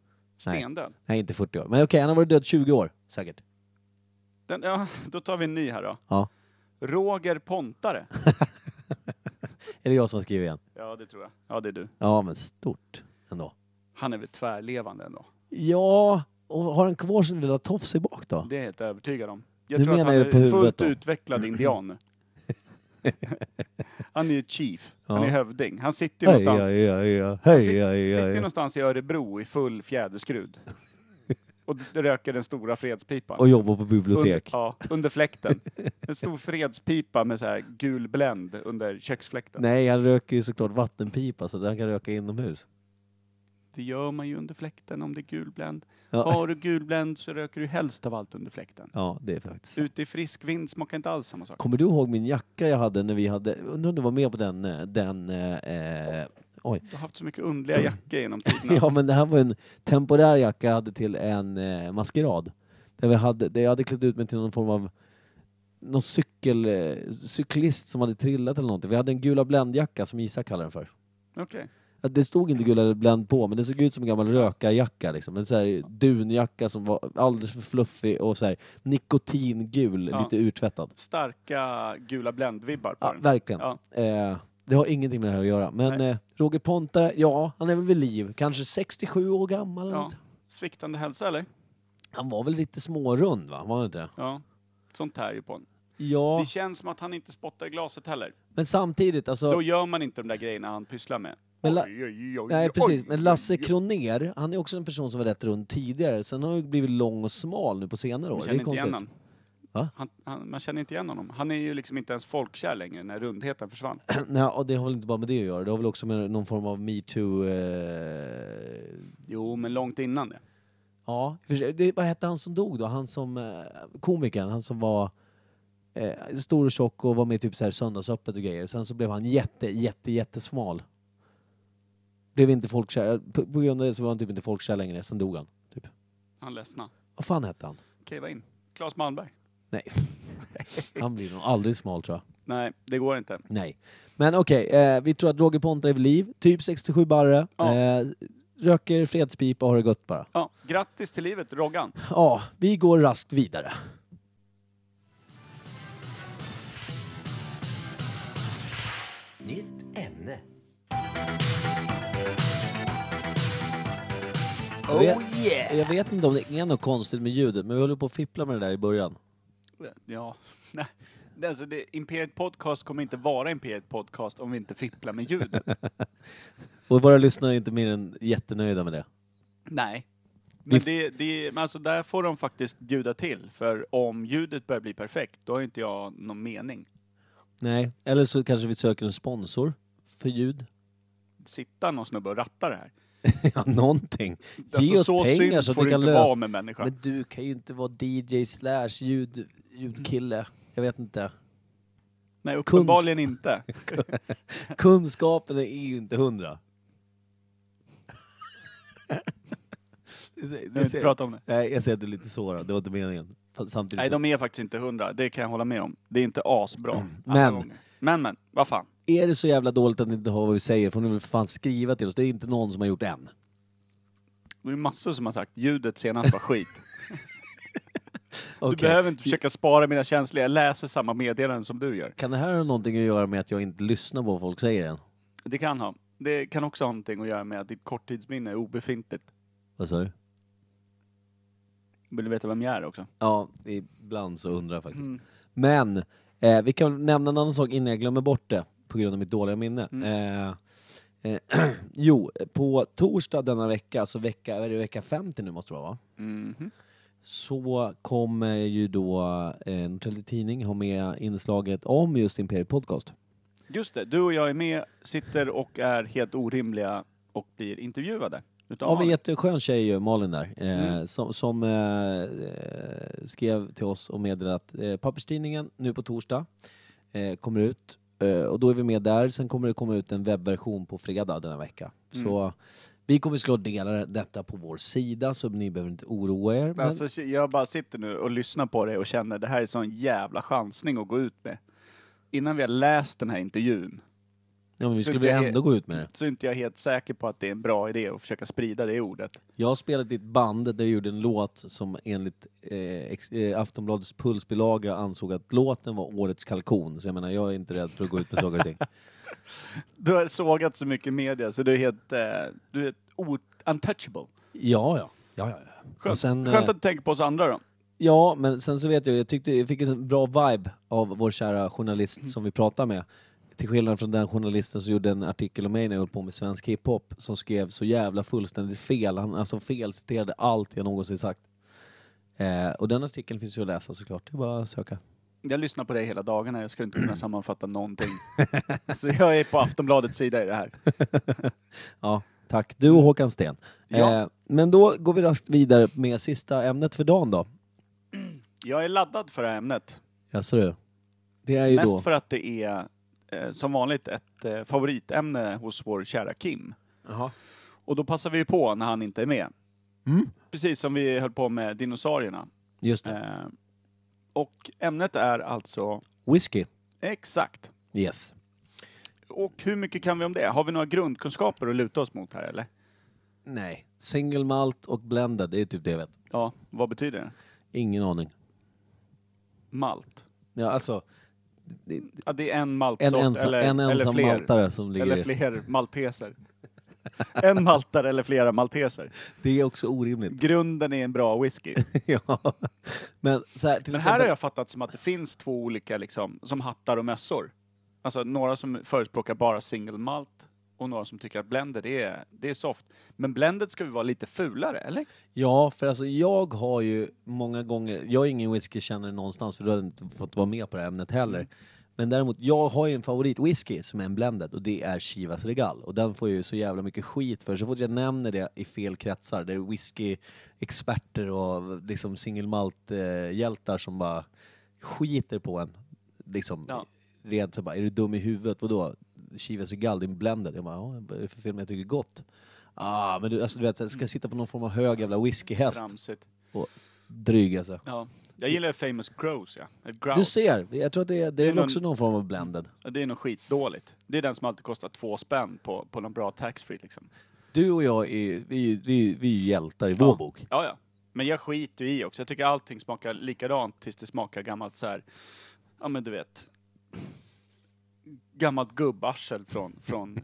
Nej. Stendöd. Nej, inte 40 år. Men okej, han har varit död 20 år säkert. Den, ja, [LAUGHS] då tar vi en ny här då. Ja. Roger Pontare. Är det jag som skriver igen? Ja, det tror jag. Ja, det är du. Ja, men stort ändå. Han är väl tvärlevande ändå. Ja, och har han kvar sin lilla tofs i bak då? Det är jag helt övertygad om. Jag Nu tror att menar han jag är på huvudet fullt då. utvecklad [LAUGHS] indian nu. Han är ju chief. Han Ja. är hövding. Han sitter ju Hej, någonstans ja, ja, ja. Han Hej, ja, sit- sitter ja, ju ja. någonstans i Örebro i [LAUGHS] full fjäderskrud. Och d- röker den stora fredspipan. Och jobbar på under, bibliotek. ja, [LAUGHS] under fläkten. En stor fredspipa med så här gul bländ under köksfläkten. Nej, han röker ju såklart vattenpipa så att han kan röka inomhus. Det gör man ju under fläkten om det är gul bländ. Ja, Har du gul bländ så röker du helst av allt under fläkten. ja det är faktiskt Ute i frisk vind smakar inte alls samma sak. Kommer du ihåg min jacka jag hade när vi hade, undrar om du var med på den, eh, den eh, eh, Du har haft så mycket underliga jackor genom tiderna. Mm. [LAUGHS] Ja, men det här var en temporär jacka jag hade till en eh, maskerad. Där, vi hade, där jag hade klätt ut mig till någon form av någon cykel, eh, cyklist som hade trillat eller någonting. Vi hade en gula bländjacka som Isak kallar den för. Okej. Att Det stod inte gula bländ på, men det såg ut som en gammal rökarjacka. Liksom. En så här dunjacka som var alldeles för fluffig och så här nikotingul, Ja. lite urtvättad. Starka gula bländvibbar på Ja, den. verkligen. Ja. Eh, det har ingenting med det här att göra. Men eh, Roger Pontare, ja, han är väl vid liv. Kanske 67 år gammal. eller Ja. något. Sviktande hälsa eller? Han var väl lite smårund va? Var han inte det? Ja. Sånt tär ju på en. Ja, Det känns som att han inte spottar i glaset heller. men samtidigt alltså... Då gör man inte de där grejerna han pysslar med. Men La- Oj, oj, oj, Nej, oj, precis. oj, Men Lasse oj, oj. Kroner, han är också en person som var rätt rund tidigare. Sen har han ju blivit lång och smal nu på senare år. Man Det är känner inte igen konstigt. honom. Va? Han, han, man känner inte igen honom. Han är ju liksom inte ens folkkär längre när [CLEARS THROAT] rundheten försvann. Nej, och det har väl inte bara med det att göra. Det har väl också med någon form av metoo... Eh... Jo, men långt innan det. Ja, i och för sig. det, vad hette han som dog då? Han som... Eh, komikern, han som var eh, stor och tjock och var med i typ så här Söndagsöppet och grejer. Sen så blev han jätte, jätte, jättesmal. Blev inte folkkär. På, på grund av det så var han typ inte folkkär längre. Sen dog han. Typ. Han ledsna. Vad fan hette han? Kliva in. Claes Malmberg. Nej. Han blir nog aldrig smal tror jag. Nej, det går inte. Nej. Men okej, eh, vi tror att Roger Ponta är vid liv. Typ 67 barre. Ja. Eh, röker fredspipa och har det gött bara. Ja, grattis till livet, Roggan. Ja, vi går raskt vidare. Nytt ämne. Oh yeah! Jag vet inte om det är något konstigt med ljudet, men vi håller på att fippla med det där i början. Ja, [LAUGHS] nej. Det, alltså, det, Imperiet Podcast kommer inte vara Imperiet Podcast om vi inte fipplar [LAUGHS] med ljudet. Och våra lyssnare är inte mer än jättenöjda med det. nej. Men, det, det, men alltså, där får de faktiskt bjuda till, för om ljudet börjar bli perfekt, då har inte jag någon mening. Nej, eller så kanske vi söker en sponsor för ljud. Sitta någon snubbe och ratta det här. [LAUGHS] Ja, någonting. Ge Alltså, oss så pengar synd så att får vi det kan inte lösa... vara med människan. Men du kan ju inte vara DJ slash ljud, ljudkille. Jag vet [LAUGHS] inte. Nej, [LAUGHS] uppenbarligen inte. Kunskapen är ju inte hundra. Vi vill inte prata om det. Nej, jag ser att du är lite sårad. Det var inte meningen. Fast Samtidigt Nej, så- de är faktiskt inte hundra. Det kan jag hålla med om. Det är inte asbra. alla Mm. Men- gånger. Men, men. Vad fan. Är det så jävla dåligt att ni inte hör vad vi säger får ni väl för fan skriva till oss. Det är inte någon som har gjort än. Det är massor som har sagt ljudet senast [LAUGHS] var skit. Okej. Du behöver inte försöka spara mina känslor. Jag läser samma meddelanden som du gör. Kan det här ha någonting att göra med att jag inte lyssnar på vad folk säger än? Det kan ha. Det kan också ha någonting att göra med att ditt korttidsminne är obefintligt. Vad sa du? Vill du veta vem jag är också? Ja, ibland så undrar jag faktiskt. Men eh, vi kan nämna en annan sak innan jag glömmer bort det på grund av mitt dåliga minne. Eh, eh, [CLEARS THROAT] jo, på torsdag denna vecka, alltså vecka, är det vecka 50 nu måste det vara va? Mhm. så kommer ju då eh, Norrtelje Tidning ha med inslaget om just Imperiet Podcast. Just det, du och jag är med, sitter och är helt orimliga och blir intervjuade. Ja, Utav men Malin. Mm. jätteskön tjej ju, Malin där, eh, som, som eh, eh, skrev till oss och meddelade att eh, papperstidningen nu på torsdag eh, kommer ut. Eh, och då är vi med där. Sen kommer det komma ut en webbversion på fredag denna vecka. Mm. Så vi kommer slå delar detta på vår sida så ni behöver inte oroa er. Men, Alltså, jag bara sitter nu och lyssnar på det och känner det här är en sån jävla chansning att gå ut med. Innan vi har läst den här intervjun ja, men vi så skulle det väl är- ändå gå ut med det. så är inte jag helt säker på att det är en bra idé att försöka sprida det ordet. Jag har spelat i ett band där jag gjorde en låt som enligt eh, ex, eh, Aftonbladets pulsbilaga ansåg att låten var årets kalkon. Så jag menar, jag är inte rädd för att gå ut med saker och ting. Du har sågat så mycket media så du är helt, eh, du är o- untouchable. Ja, ja. ja, ja, ja. Skönt, Och sen, eh, Skönt att du tänker på oss andra då. Ja, men sen så vet jag, jag tyckte jag fick en sån bra vibe av vår kära Mm. journalist som vi pratade med. Till skillnad från den journalisten som gjorde en artikel om mig när jag höll på med svensk hiphop som skrev så jävla fullständigt fel. Han alltså felciterade allt jag någonsin sagt. Eh, och den artikeln finns ju att läsa såklart. Det är bara att söka. Jag lyssnar på dig hela dagarna, jag skulle inte [CLEARS THROAT] kunna sammanfatta [LAUGHS] någonting. så jag är på Aftonbladets sida i det här. Ja, tack. Du och Håkan Sten. Mm. Ja. Eh, men då går vi raskt vidare med sista ämnet för dagen då. Jag är laddad för det här ämnet. Jaså du? Det är ju Mest då... för att det är eh, som vanligt ett eh, favoritämne hos vår kära Kim. Jaha. Och då passar vi ju på när han inte är med. Mm. Precis som vi höll på med dinosaurierna. Just det. Eh, och ämnet är alltså Whisky. exakt. Yes. Och hur mycket kan vi om det? Har vi några grundkunskaper att luta oss mot här eller? Nej. Single malt och blended, det är typ det jag vet. Ja, vad betyder det? Ingen aning. Malt. Ja, alltså, Ja, det är en en, maltsort ensa, eller, en eller ensam fler. maltare som ligger Eller i. fler malteser. en maltare eller flera malteser. Det är också orimligt. [LAUGHS] Grunden är en bra whisky. ja. Men så här, till Men här exempel... har jag fattat som att det finns två olika, liksom, som hattar och mössor. Alltså några som förespråkar bara single malt och några som tycker att blended är, det är soft. Men blended ska ju vara lite fulare, eller? Ja, för alltså jag har ju många gånger, jag är ingen whiskykännare någonstans för du har inte fått vara med på det här ämnet heller. Men däremot, jag har ju en favoritwhisky som är en blended och det är Chivas Regal. Och den får jag ju så jävla mycket skit för. Så fort jag nämner det i fel kretsar, det är whiskyexperter och liksom single malt-hjältar som bara skiter på en. Liksom, Ja. rent så bara, är du dum i huvudet? Vadå? Chivas Regal, det är en blended. Jag bara, ja, vad är det för film jag tycker är gott? Ah, men du, alltså, du vet, så här, Mm. ska jag sitta på någon form av hög jävla whiskyhäst Tramsigt. och dryg alltså. Ja. Jag gillar famous grouse, ja. Eh, Du Grouse. ser, jag tror att det är, det är väl någon- också någon form av blended. Ja, Det är nog skitdåligt. Det är den som alltid kostar två spänn på, på någon bra taxfree liksom. Du och jag är, vi, vi, vi är ju hjältar i vår bok. Ja, ja. Men jag skiter ju i också. Jag tycker allting smakar likadant tills det smakar gammalt så här. Ja, men du vet. Gammalt gubbarsel från, från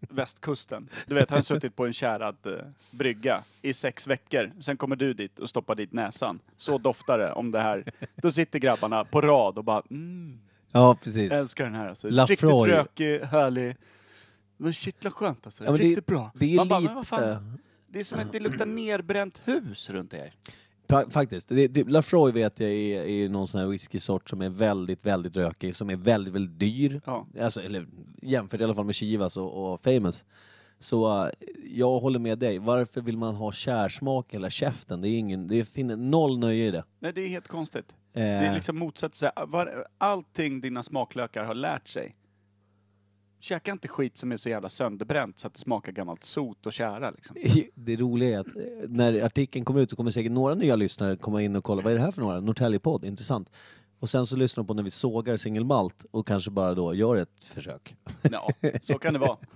västkusten. Du vet, han har suttit på en kärad eh, brygga i sex veckor. Sen kommer du dit och stoppar dit näsan. Så doftar det om det här. Då sitter grabbarna på rad och bara mm, Ja, precis. jag älskar den här alltså. Riktigt Lafroy. rökig, härlig. Men kittlar skönt alltså. Ja, men det- Riktigt bra. Det är Man bara, men vad fan, lite... det är som att det luktar nerbränt hus runt er. Fa- Faktiskt. Det, det, Lafroy vet jag är, är någon sån här whiskysort som är väldigt, väldigt rökig, som är väldigt, väldigt dyr. Ja. Alltså, eller jämfört i alla fall med Chivas och, och Famous. Så eh, jag håller med dig. Varför vill man ha kärsmak i hela käften? Det, är ingen, det finns noll nöje i det. [LAUGHS] Nej, det är helt konstigt. Eh, Det är liksom motsatsen. Var- Allting dina smaklökar har lärt sig. Käka inte skit som är så jävla sönderbränt så att det smakar gammalt sot och tjära liksom. Det roliga är att eh, när artikeln kommer ut så kommer säkert några nya lyssnare komma in och kolla vad är det här för några? Norrtäljepodd, intressant. Och sen så lyssnar de på när vi sågar singelmalt och kanske bara då gör ett försök. Ja, så kan det vara. Men,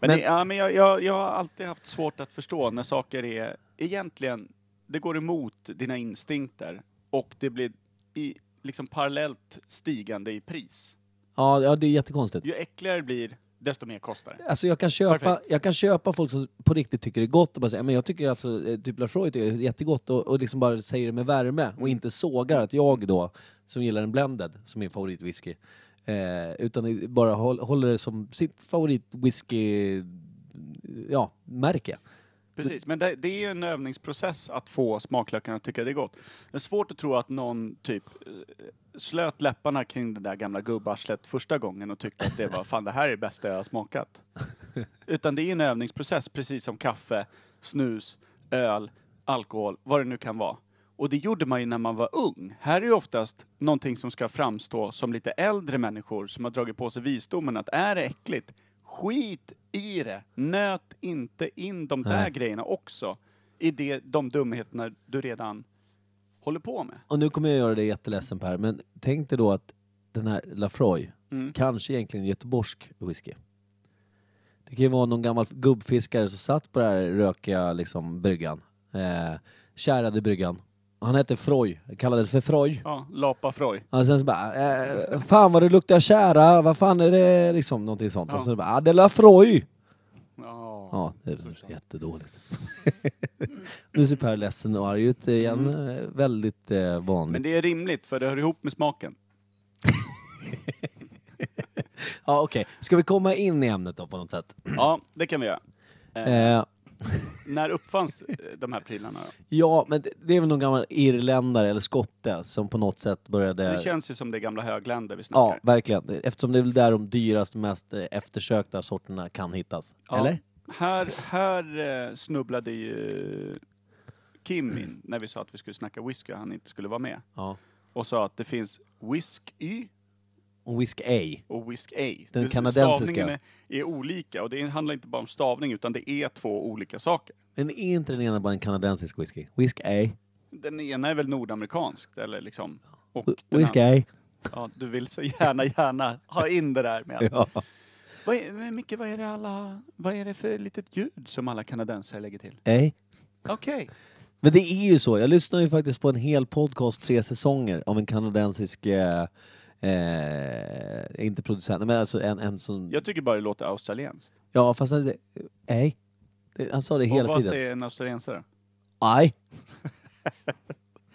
Men- Det, ja, men jag, jag, jag har alltid haft svårt att förstå när saker är egentligen, det går emot dina instinkter och det blir i, liksom parallellt stigande i pris. Ja, ja det är jättekonstigt. Ju äckligare det blir, desto mer kostar det. Alltså jag kan, köpa, Perfekt. jag kan köpa folk som på riktigt tycker det är gott och bara säger men jag tycker alltså, eh, typ Lafroy är jättegott och, och liksom bara säger det med värme och inte sågar att jag då, som gillar en blended, som är min favoritwhisky, eh, utan i- bara håll, håller det som sitt favoritwhisky, ja, märke. Precis, men det, det är ju en övningsprocess att få smaklökarna att tycka det är gott. Det är svårt att tro att någon typ eh, slöt läpparna kring det där gamla gubbarslet första gången och tyckte att det var fan det här är det bästa jag har smakat. Utan det är en övningsprocess, precis som kaffe, snus, öl, alkohol, vad det nu kan vara. Och det gjorde man ju när man var ung. Här är ju oftast någonting som ska framstå som lite äldre människor som har dragit på sig visdomen att är det äckligt, skit i det. Nöt inte in de där Nej. grejerna också i det, de dumheterna du redan håller på med. Och nu kommer jag göra dig jätteledsen Per, men tänk dig då att den här Lafroy, Mm. kanske egentligen göteborgsk whisky. Det kan ju vara någon gammal gubbfiskare som satt på den här rökiga liksom, bryggan. Eh, kärade bryggan. Han hette Froy, kallades för Froy. Ja, lapa froj. Och sen så bara, eh, fan vad det luktar kära, vad fan är det? Liksom någonting sånt. Ja. Och sen bara, ah, det är Lafroy! Ja. Ja, det är jättedåligt. [LAUGHS] nu ser Per ledsen och arg ut igen. Mm. Eh, Väldigt eh, vanligt. Men det är rimligt för det hör ihop med [CLEARS THROAT] smaken. Ja, okej. Ska vi komma in i ämnet då på något sätt? Ja, det kan vi göra. Eh, Eh, När uppfanns eh, de här prylarna då? ja, men det- det är väl någon gammal irländare eller skotte som på något sätt började... Det känns ju som det gamla högländer vi Eh, ja, snackar. verkligen. Eftersom det är väl där de dyraste, mest eh, eftersökta sorterna kan hittas. Ja. Eller? Här, här eh, snubblade ju Kim in när vi sa att vi skulle snacka whisky och han inte skulle vara med. Ja. Och sa att det finns whisky Och Whisk A. och whisk A. Den Det- kanadensiska. Stavningen är, är olika och det handlar inte bara om stavning utan det är två olika saker. Men är inte den ena bara en kanadensisk whisky? Whisk A. Den ena är väl nordamerikansk eller liksom... Och Wh- den Whisk andra- A. [LAUGHS] Ja, du vill så gärna, gärna ha in det där med att Ja. Vad är, men Micke, vad är, det alla, vad är det för litet ljud som alla kanadensare lägger till? A. Okej. Men det är ju så. Jag lyssnar ju faktiskt på en hel podcast, tre säsonger, av en kanadensisk... Eh, eh, inte producent, men alltså en, en som... Jag tycker bara det låter australienskt. Ja, fast han säger... Nej. Det- Han sa det Och hela vad tiden. [LAUGHS] säger en australiensare? Aj.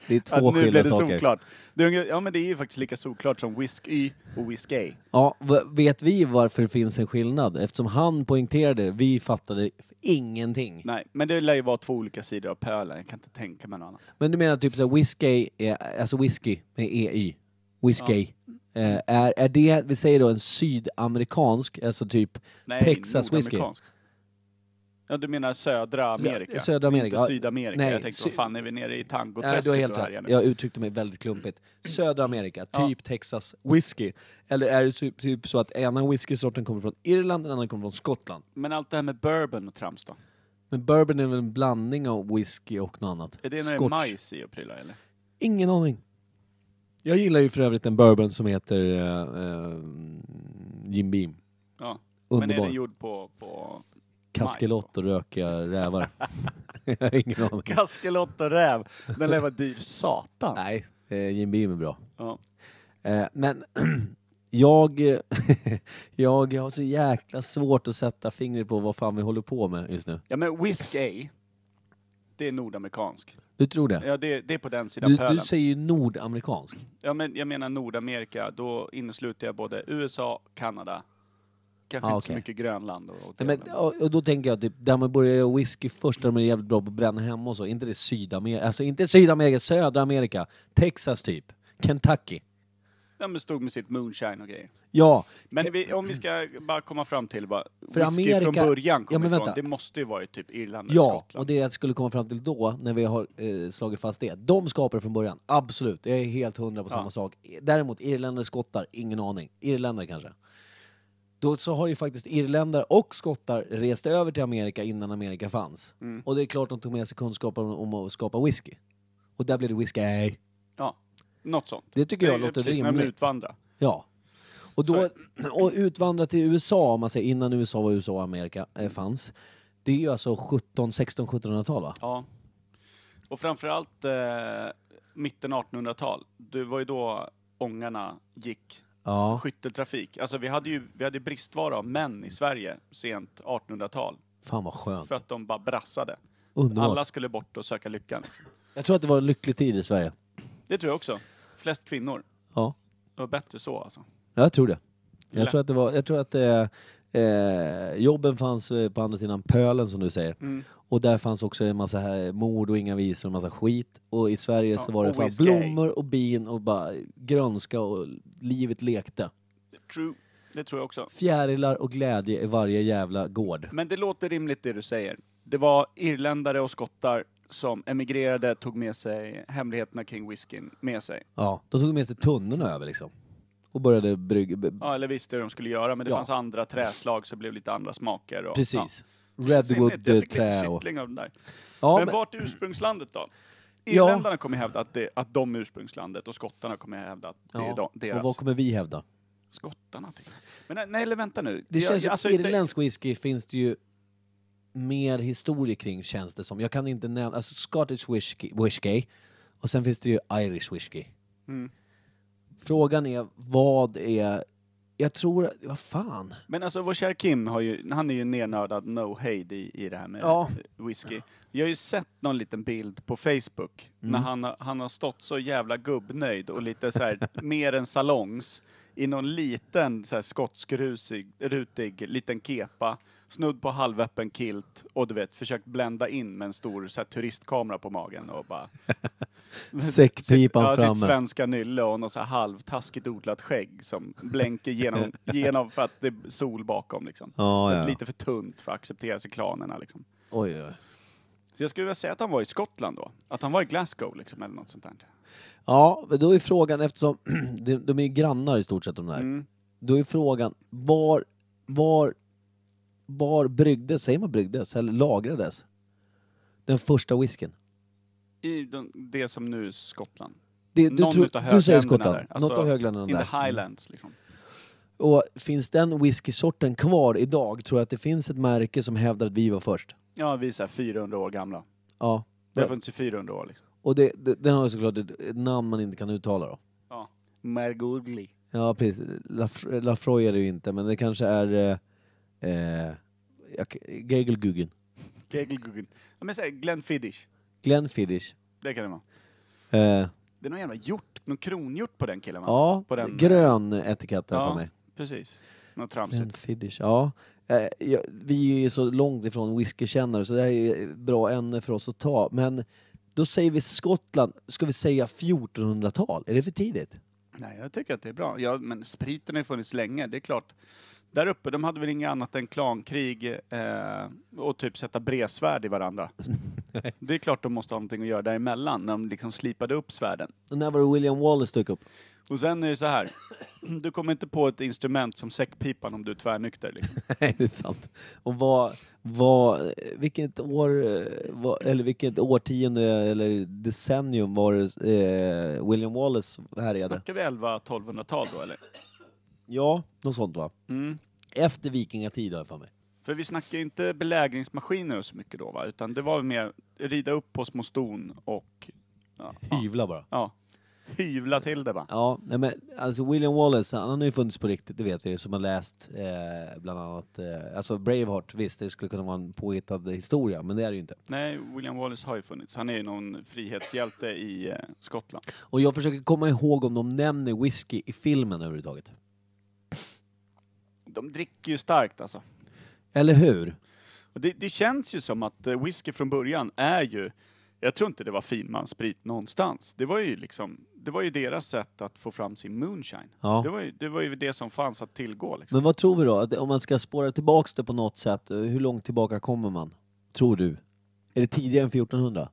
Det är två att nu skilda blev det saker. solklart. Det är, ungefär- ja men det är ju faktiskt lika solklart som Whisk Y och Whisk A. Ja, v- vet vi varför det finns en skillnad? Eftersom han poängterade, vi fattade f- ingenting. Nej, men det lär ju vara två olika sidor av pölen. Jag kan inte tänka mig något annat. Men du menar typ såhär whiskey, är, alltså whisky med EY, whiskey. Eh, Är, är det, vi säger då en sydamerikansk, alltså typ Nej, Texas whisky? nordamerikansk. Ja, du menar södra Sö- Amerika? södra Amerika, ja. Inte Sydamerika. Nej, jag tänkte, sy- vad fan är vi nere i Nej, tangoträsket? du har helt och här rätt. igen? Jag uttryckte mig väldigt klumpigt. Södra Amerika, Ja. typ Texas whisky. Eller är det typ, typ så att ena whiskysorten kommer från Irland, den andra kommer från Skottland? Men allt det här med bourbon och trams då? Men bourbon är väl en blandning av whisky och något annat? Är det när det är Scotch. majs i och prylar eller? Ingen aning. Jag gillar ju för övrigt en bourbon som heter eh, eh, Jim Beam. Ja. Men är Underbar. den gjord på... på... [LAUGHS] Kaskelott och rökiga rävar. [LAUGHS] Jag har ingen [LAUGHS] aning. Kaskelott och räv. Den lär vara dyr satan. Nej, eh, Jim Beam är bra. Ja. Eh, men [CLEARS THROAT] jag, [LAUGHS] eh, jag har så jäkla svårt att sätta fingret på vad fan vi håller på med just nu. ja, men Whisk A, det är nordamerikansk. Du tror det? Ja, det, det är på den sidan Du, pölen. du säger ju nordamerikansk. Ja, men jag menar Nordamerika, då innesluter jag både USA, Kanada, kanske Ah, inte så okej. mycket Grönland och, och det, Nej, men, men- och, och då tänker jag typ, där man börjar göra whisky först, där de är jävligt bra på att bränna hemma och så. Inte det Sydamerika, alltså inte Sydamerika, södra Amerika. Texas typ. Kentucky. Ja, men stod med sitt moonshine och grejer. Ja, Men vi, om vi ska bara komma fram till vad För whisky från Amerika- början kom Ja, men ifrån, vänta. det måste ju varit typ Irland eller Ja, Skottland. och det jag skulle komma fram till då, när vi har eh, slagit fast det. De skapade från början, absolut. Jag är helt hundra på Ja. samma sak. Däremot irländare, skottar, ingen aning. Irländare kanske. Då så har ju faktiskt irländare och skottar rest över till Amerika innan Amerika fanns. Mm. Och det är klart de tog med sig kunskapen om, om att skapa whisky. Och där blev det whisky. Ja, något sånt. Det tycker jag är låter precis, När de rimligt. utvandrar. Ja. Och, då, [CLEARS THROAT] och utvandra till USA, om man säger innan USA var USA och Amerika eh, fanns. Det är ju alltså 17, 16, 1700-tal va? Ja. Och framförallt eh, mitten 1800-tal, det var ju då ångarna gick Ja. skytteltrafik. Alltså vi hade ju vi hade bristvara av män i Sverige sent 1800-tal. Fan vad skönt. För att de bara brassade. Underbart. Alla skulle bort och söka lyckan. Liksom. Jag tror att det var en lycklig tid i Sverige. Det tror jag också. Flest kvinnor. Ja, Och bättre så alltså. jag tror det. Jag Lätt. tror att, det var, jag tror att eh, eh, jobben fanns eh, på andra sidan pölen som du säger. Mm. Och där fanns också en massa här mord och inga visor och massa skit. Och i Sverige så Ja, var det och fan whisky. blommor och bin och bara grönska och livet lekte. True. Det tror jag också. Fjärilar och glädje i varje jävla gård. Men det låter rimligt det du säger. Det var irländare och skottar som emigrerade, tog med sig hemligheterna kring whiskyn med sig. Ja, de tog med sig tunnorna över liksom. Och började brygga. b- Ja, eller visste hur de skulle göra, men det Ja. fanns andra träslag så det blev lite andra smaker. Och, Precis. Ja. Känns rimligt. Jag Redwood, eh, fick lite trä och... kittling av den där. Ja, men, men- vart är ursprungslandet då? [CLEARS THROAT] Ja. Irländarna kommer hävda att, det, att de är ursprungslandet och skottarna kommer hävda att det är ja. de, Och deras. vad kommer vi hävda? Skottarna tycker jag. Men nej, eller vänta nu. Det Jag- känns jag- som alltså, irländsk whisky finns det ju mer historia kring känns det som. Jag kan inte nämna, alltså Scottish whisky, whisky och sen finns det ju Irish whisky. Mm. Frågan är vad är, jag tror, vad fan? [LAUGHS] Men alltså vår kära Kim, har ju, han är ju nernördad no hejd i, i det här med Ja. whisky. Jag har ju sett någon liten bild på Facebook Mm. när han, har- han har stått så jävla gubbnöjd och lite så [LAUGHS] här mer än salongs i någon liten så här skotskrusig, rutig liten kepa, snudd på halvöppen kilt och du vet försökt blända in med en stor så här, turistkamera på magen och bara Säckpipan sitt, Typ- ja, typ sitt framme. svenska nylle och något så här halvtaskigt odlat skägg som [LAUGHS] blänker genom, genom för att det är sol bakom liksom. Ja, ja. Lite för tunt för att accepteras i klanerna liksom. Oj, oj. Så jag skulle vilja säga att han var i Skottland då. Att han var i Glasgow liksom eller något sånt där. Ja, men då är frågan eftersom [CLEARS THROAT] de, de är ju grannar i stort sett de där. Mm. Då är frågan var, var, var bryggdes, säger man bryggdes eller lagrades? Den första whiskyn? I de, det som nu är Skottland. Det, du, Någon tror- utav du säger högländerna Skottland, där. Alltså, något av högländerna In där. Mm. the highlands liksom. Och finns den whiskysorten kvar idag? Tror jag att det finns ett märke som hävdar att vi var först? Ja, vi är så här 400 år gamla. Ja. Det har funnits i 400 år liksom. Och det, det, den har ju såklart ett, ett namn man inte kan uttala då. Ja. Mergudli. Ja, precis. Laf- Lafroy är det ju inte, men det kanske är... Eh, eh, jag- Gegelguggen. Gegelguggen. Ja men såhär Glenfiddich. Glenfiddich. Det kan det vara. Eh, Det är någon jävla hjort, någon kronhjort på den killen va? ja, På den- eh, grön etikett har jag Ja, för mig. precis. Något Grön tramsigt. finish, ja. Eh, ja, vi är ju så långt ifrån whiskykännare så det här är ju bra ämne för oss att ta. Men då säger vi Skottland, ska vi säga 1400-tal? Är det för tidigt? Nej, jag tycker att det är bra. Ja, men spriten har ju funnits länge, det är klart. Där uppe, de hade väl inget annat än klankrig eh, och typ sätta bredsvärd i varandra. det är klart de måste ha någonting att göra däremellan, när de liksom slipade upp svärden. Och när var det William Wallace dök upp? Och sen är det så här, du kommer inte på ett instrument som säckpipan om du är tvärnykter. Liksom. Nej, det är sant. Och vad, vad, vilket år, eh, vad, eller vilket årtionde eller decennium var det eh, William Wallace härjade? Snackar vi 11-1200-tal då eller? Ja, något sånt va? Mm. Efter vikingatid har jag för mig. För vi snackar ju inte belägringsmaskiner och så mycket då va, utan det var mer rida upp på små ston och ja, ja, Hyvla bara. ja, hyvla till det va. Ja, nej men alltså William Wallace, han, han har ju funnits på riktigt, det vet vi ju, som har läst eh, bland annat, eh, alltså Braveheart, visst det skulle kunna vara en påhittad historia, men det är det ju inte. Nej, William Wallace har ju funnits. Han är ju någon frihetshjälte i eh, Skottland. Och jag försöker komma ihåg om de nämner whisky i filmen överhuvudtaget. De dricker ju starkt alltså. Eller hur? Och det, det känns ju som att eh, whisky från början är ju, jag tror inte det var finmanssprit någonstans. Det var ju liksom, det var ju deras sätt att få fram sin moonshine. Ja. Det, var ju, det var ju det som fanns att tillgå liksom. Men vad tror vi då? Att Om man ska spåra tillbaks det på något sätt, eh, hur långt tillbaka kommer man? Tror du? Är det tidigare än 1400?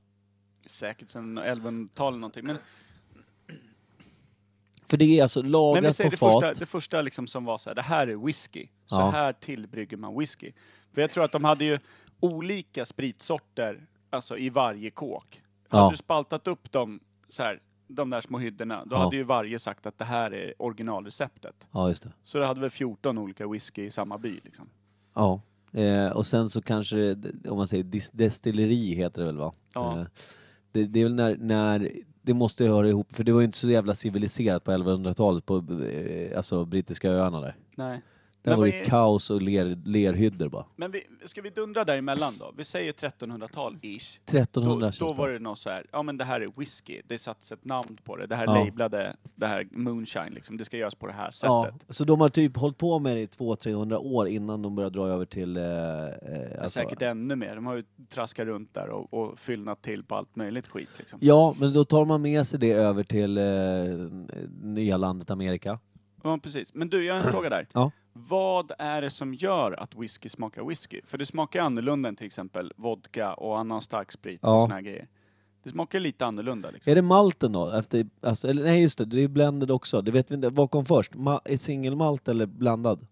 Säkert sedan 1100-talet någonting. Men, För det är alltså nej, men lagrat säg på det fat. första, det första liksom som var så här, det här är whisky. Så Ja. här tillbrygger man whisky. För jag tror att de hade ju olika spritsorter, alltså i varje kåk. Hade Ja. du spaltat upp dem så här, de där små hyddorna, då Ja. hade ju varje sagt att det här är originalreceptet. Ja, just det. Så det hade väl 14 olika whisky i samma by liksom. Ja. Eh, och sen så kanske, det- om man säger dis- destilleri heter det väl va? Ja. Eh, det, det är väl när, när, det måste ju höra ihop, för det var ju inte så jävla civiliserat på 1100-talet på eh, alltså, brittiska öarna där. Nej. Där Men var vad det är- kaos och ler, lerhyddor bara. Men vi, ska vi dundra däremellan då? Vi säger 1300-tal-ish. Då, 1300 då känns var bra. det något så här, ja men det här är whisky, det sattes ett namn på det, det här Ja. lablade, det här moonshine liksom, det ska göras på det här Ja, sättet. så de har typ hållit på med det i 200-300 år innan de började dra över till... Eh, eh, Men alltså- Säkert ännu mer, de har ju traskat runt där och, och fyllnat till på allt möjligt skit liksom. Ja, men då tar man med sig det över till eh, nya landet Amerika. Ja, precis. Men du, jag har en fråga där. Ja. Vad är det som gör att whisky smakar whisky? För det smakar annorlunda än till exempel vodka och annan starksprit Ja. och såna här grejer. Det smakar lite annorlunda liksom. Är det malten då? Efter, alltså, eller, nej just det, det är blended också. Det vet vi inte. Vad kom först? Ma- är singelmalt eller blandad?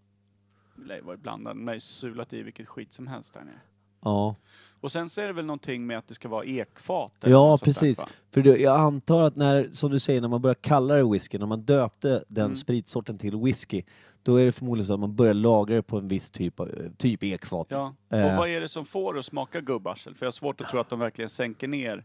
lär ju vara blandad. De har ju sulat i vilket skit som helst där nere. Ja, Och sen så är det väl någonting med att det ska vara ekfat. eller ja något sånt där, precis. va? För du, jag antar att när, som du säger, när man börjar kalla det whisky, när man döpte den Mm. spritsorten till whisky, då är det förmodligen så att man börjar lagra det på en viss typ, av, typ ekfat. Ja. Eh. Och vad är det som får att smaka gubbarsel? För jag har svårt att tro att de verkligen sänker ner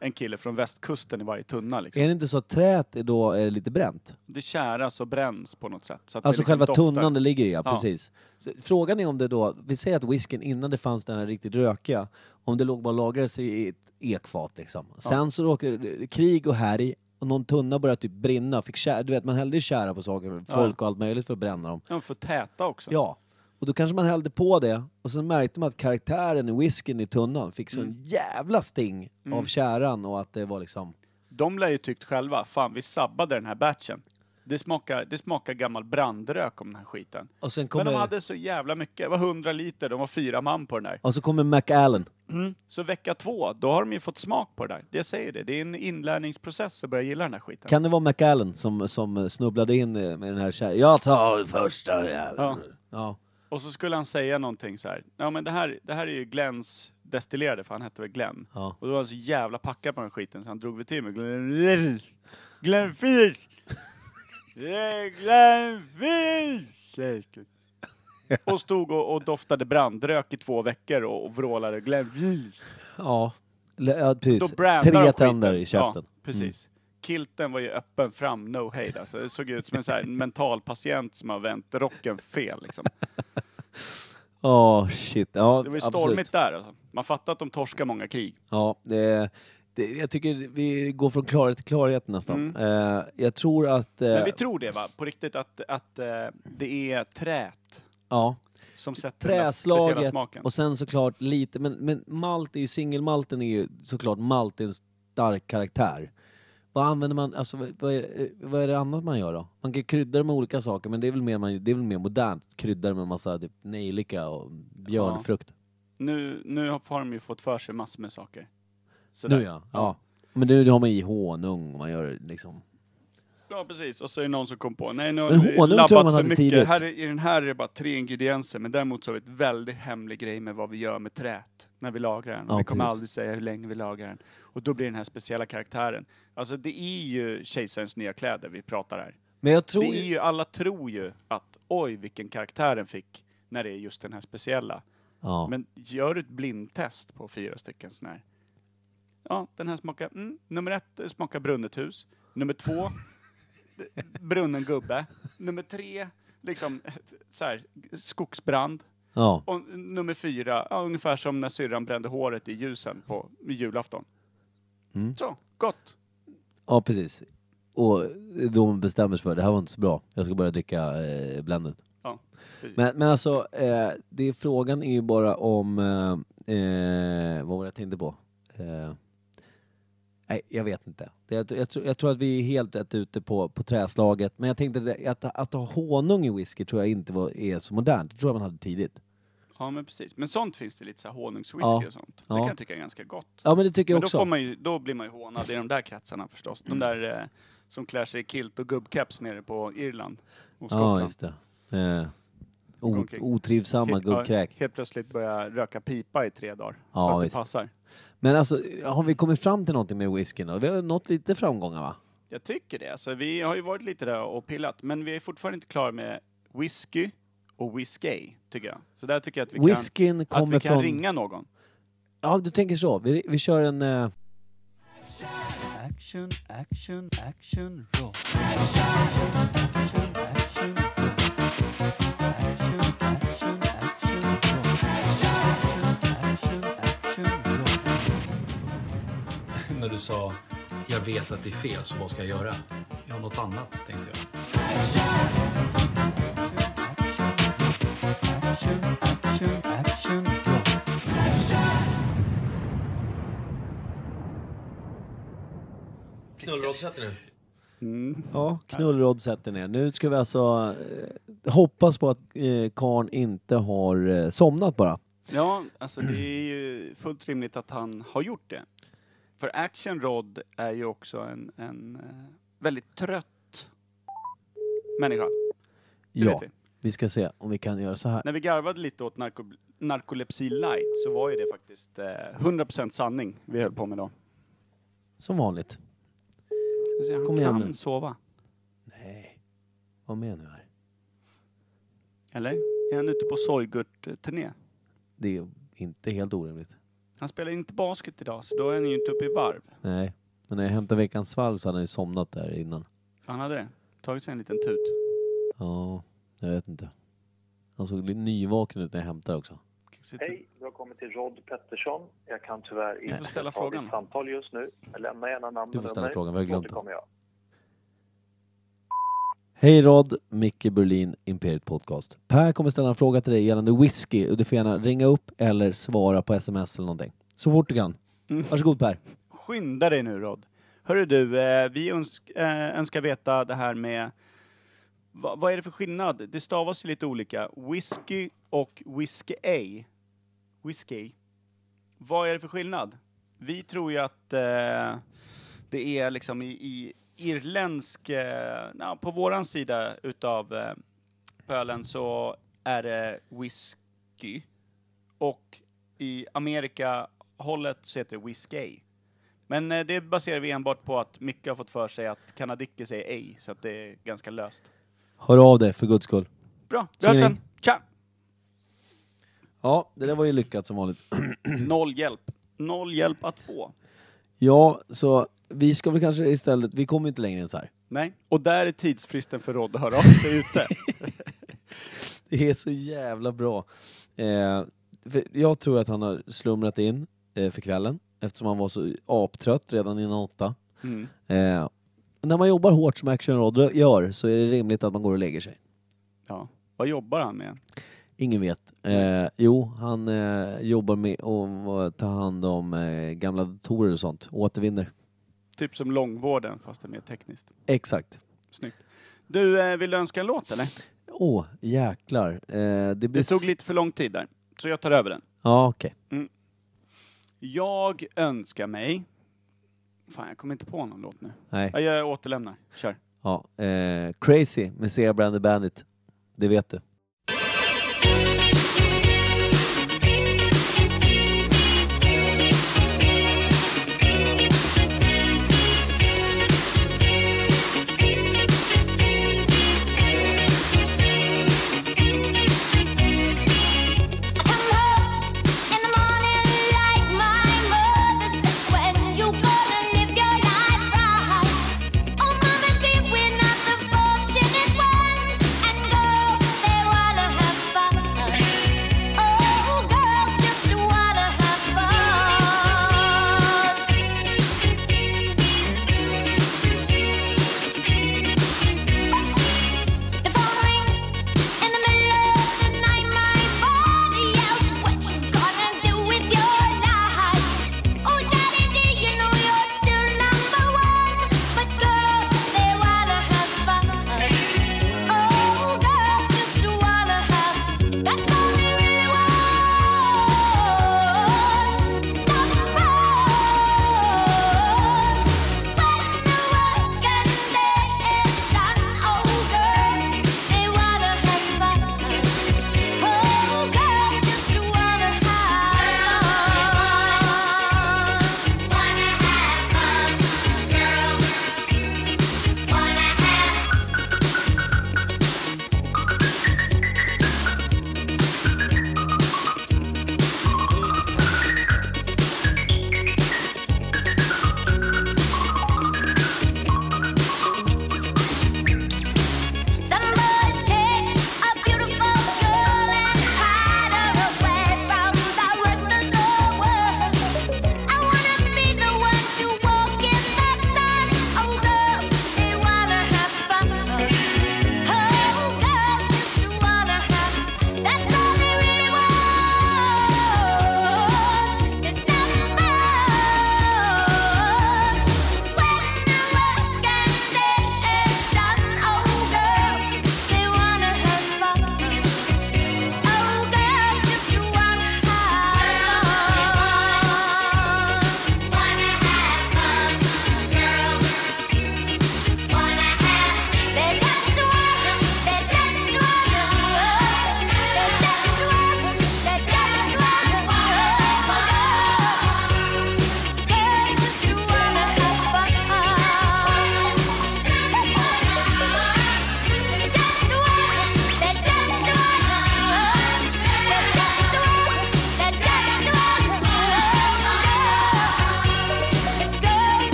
en kille från västkusten i varje tunna. Liksom. Är det inte så att träet är då är lite bränt? Det käras och bränns på något sätt. Så att det Alltså liksom själva doftar. tunnan det ligger i, ja, Ja. precis. Så, frågan är om det då, vi säger att whiskyn innan det fanns den här riktigt rökiga, om det låg bara och lagrades i ett ekfat liksom. Sen så råkade det- krig och härj och någon tunna började typ brinna, fick kär, du vet man hällde ju kära på saker, folk och allt möjligt för att bränna dem. De får täta också. Ja. Och då kanske man hällde på det och sen märkte man att karaktären i whiskyn i tunnan fick sån jävla sting av käran och att det var liksom... De lär ju tyckt själva, fan vi sabbade den här batchen. Det smakar, det smakar gammal brandrök om den här skiten. Och sen kommer, Men de hade så jävla mycket, det var 100 liter, de var fyra man på den här. och så kommer McAllen. Så vecka två, då har de ju fått smak på det där. Det säger det, det är en inlärningsprocess att börja gilla den här skiten. Kan det vara McAllen som, som snubblade in eh, med den här kärringen? Jag tar första jäveln. Ja. Ja. Och så skulle han säga någonting så här. ja men det här, det här är ju Glens destillerade, för han hette väl Glenn. Ja. Och då var han så jävla packad på den skiten så han drog väl till med Glenn... Glenfish! Glenfish! [LAUGHS] Och stod och, och doftade brandrök i två veckor och, och vrålade Glenfish. ja. Le- ja Då precis. brandar de Tre skiten. tänder i käften. Mm. Ja, precis. Kilten var ju öppen fram, no hate. Alltså, det såg ut som en så här mental patient som har vänt rocken fel. Liksom. Ja, shit. Ja, Det var ju stormigt absolut. där. Alltså. Man fattar att de torskar många krig. Ja, eh, det, jag tycker vi går från klarhet till klarhet nästan. Eh, jag tror att... eh, Mm. Men vi tror det va? På riktigt att, att eh, det är träet ja, som sätter den där speciella träslaget smaken. och sen såklart lite, men, men malt är ju, singelmalten är ju såklart malt är en stark karaktär. Vad använder man, alltså vad, vad, är, eh, vad är det annat man gör då? Man kan krydda det med olika saker men det är väl mer, man, det är väl mer modernt, krydda det med massa typ nejlika och björnfrukt. Nu, nu har har de ju fått för sig massor med saker. Sådär. Nu ja, ja. Men nu har man i honung, man gör liksom... Ja, precis. Och så är det någon som kom på, nej nu har Men vi honung labbat tror jag man för hade mycket. tidigt. Här, är- I den här är det bara tre ingredienser, men däremot så har vi ett väldigt hemlig grej med vad vi gör med träet när vi lagrar den. Ja, vi kommer precis. aldrig säga hur länge vi lagrar den. Och då blir den här speciella karaktären. Alltså det är ju kejsarens nya kläder vi pratar här. Men jag tror Det ju... är ju, alla tror ju att oj vilken karaktär den fick när det är just den här speciella. Ja. Men gör du ett blindtest på fyra stycken sådana här. Ja, den här smakar, mm, nummer ett eh, smakar brunnet hus. Nummer två, [LAUGHS] d- brunnen gubbe. Nummer tre, liksom [LAUGHS] eh, så här, skogsbrand. ja. Och eh, nummer fyra, ja, ungefär som när syrran brände håret i ljusen på julafton. Mm. Så, gott. Ja, precis. Och de bestämmer sig för det här var inte så bra. Jag ska börja dricka eh, bländet. Ja, precis. Men, men alltså, eh, det är, frågan är ju bara om... Eh, eh, vad var det jag tänkte på? Eh, nej, jag vet inte. Det, jag, tror- jag, tror- jag tror att vi är helt rätt ute på, på träslaget. Men jag tänkte det, att, att ha honung i whisky tror jag inte var, är så modernt. Det tror jag man hade tidigt. Ja, men precis. Men sånt finns det lite så här honungswhisky Ja. och sånt. Det Ja. kan jag tycka är ganska gott. Ja, men det tycker jag Men då, också. får man ju, då blir man ju hånad i de där kretsarna förstås. De där eh, som klär sig i kilt och gubbkeps nere på Irland och ja, Skottland. just det. Eh, o, omkring. otrivsamma Helt- ja, gubbkräk. Helt plötsligt börjar röka pipa i tre dagar. Ja, för att visst. det passar. Men alltså, har vi kommit fram till någonting med whiskyn då? Vi har nått lite framgångar va? Jag tycker det. Alltså, vi har ju varit lite där och pillat, men vi är fortfarande inte klara med whisky och whisky, tycker jag. Så där tycker jag att vi Whiskyn kan, att kommer vi kan från... ringa någon. Ja, du tänker så. Vi, vi kör en... eh, Action, action, action, roll. action, action, action, action, roll. Action, action, action, roll. [LAUGHS] när du sa jag vet att det är fel, så vad ska jag göra? Jag har något annat, tänkte jag. Action, action, action, roll. Ja, knullrodd sätter ner. Nu ska vi alltså eh, hoppas på att eh, karn inte har eh, somnat bara. Ja, alltså det är ju fullt rimligt att han har gjort det. För Action Rod är ju också en, en eh, väldigt trött människa. Det ja, vet vi. vi ska se om vi kan göra så här. När vi garvade lite åt narko, narkolepsi light så var ju det faktiskt eh, 100% sanning vi höll på med då. Som vanligt. Ska vi se, Han Kom igen kan nu. sova. Nej. Vad menar du här? Eller? Är han ute på Soygurt-turné? Det är inte helt orimligt. Han spelar inte basket idag så då är han ju inte uppe i varv. Nej. Men när jag hämtade veckans svalg så hade han ju somnat där innan. Han hade det. Tagit sig en liten tut. Ja, jag vet inte. Han såg lite nyvaken ut när jag hämtade också. Sitter- Hej, du har kommit till Rod Pettersson. Jag kan tyvärr Du får inte ställa ta frågan. ditt samtal just nu. Lämna gärna namn och Du får ställa nummer, frågan, vi har så glömt återkommer jag. Hej Rod, Micke Berlin, Imperiet Podcast. Per kommer ställa en fråga till dig gällande whisky och du får gärna ringa upp eller svara på sms eller någonting. Så fort du kan. Varsågod Per. Skynda dig nu Rod. Hörru du, eh, vi önsk, eh, önskar veta det här med va, vad är det för skillnad? Det stavas ju lite olika. Whisky och whisky A. Whisky. Vad är det för skillnad? Vi tror ju att eh, det är liksom i, i irländsk, eh, na, på våran sida utav eh, pölen så är det whisky och i Amerika hållet så heter det whisky. Men eh, det baserar vi enbart på att Micke har fått för sig att kanadicker säger ej, så att det är ganska löst. Hör av dig för guds skull. Bra, vi hörs Tjingeling. sen! Tja! Ja, det där var ju lyckat som vanligt. Noll hjälp. Noll hjälp att få. Ja, så vi ska väl kanske istället, vi kommer ju inte längre än så här. Nej, och där är tidsfristen för Rod att höra av sig ute. Det är så jävla bra. Eh, för jag tror att han har slumrat in eh, för kvällen. eftersom han var så aptrött redan innan åtta. [LAUGHS] Mm. Eh, när man jobbar hårt som Action Rod gör så är det rimligt att man går och lägger sig. Ja. Vad jobbar han med? Ingen vet. Eh, jo, han eh, jobbar med att ta hand om eh, gamla datorer och sånt. Återvinner. Typ som långvården fast det är mer tekniskt. Exakt. Snyggt. Du, eh, vill du önska en låt eller? Åh, jäklar. Eh, det blir... Det tog s- lite för lång tid där, så jag tar över den. Ja, okej. Jag önskar mig... Fan, jag kommer inte på någon låt nu. Nej. Ja, Jag återlämnar. Kör. Ja. Eh, Crazy med Zebra and the Bandit. Det vet du.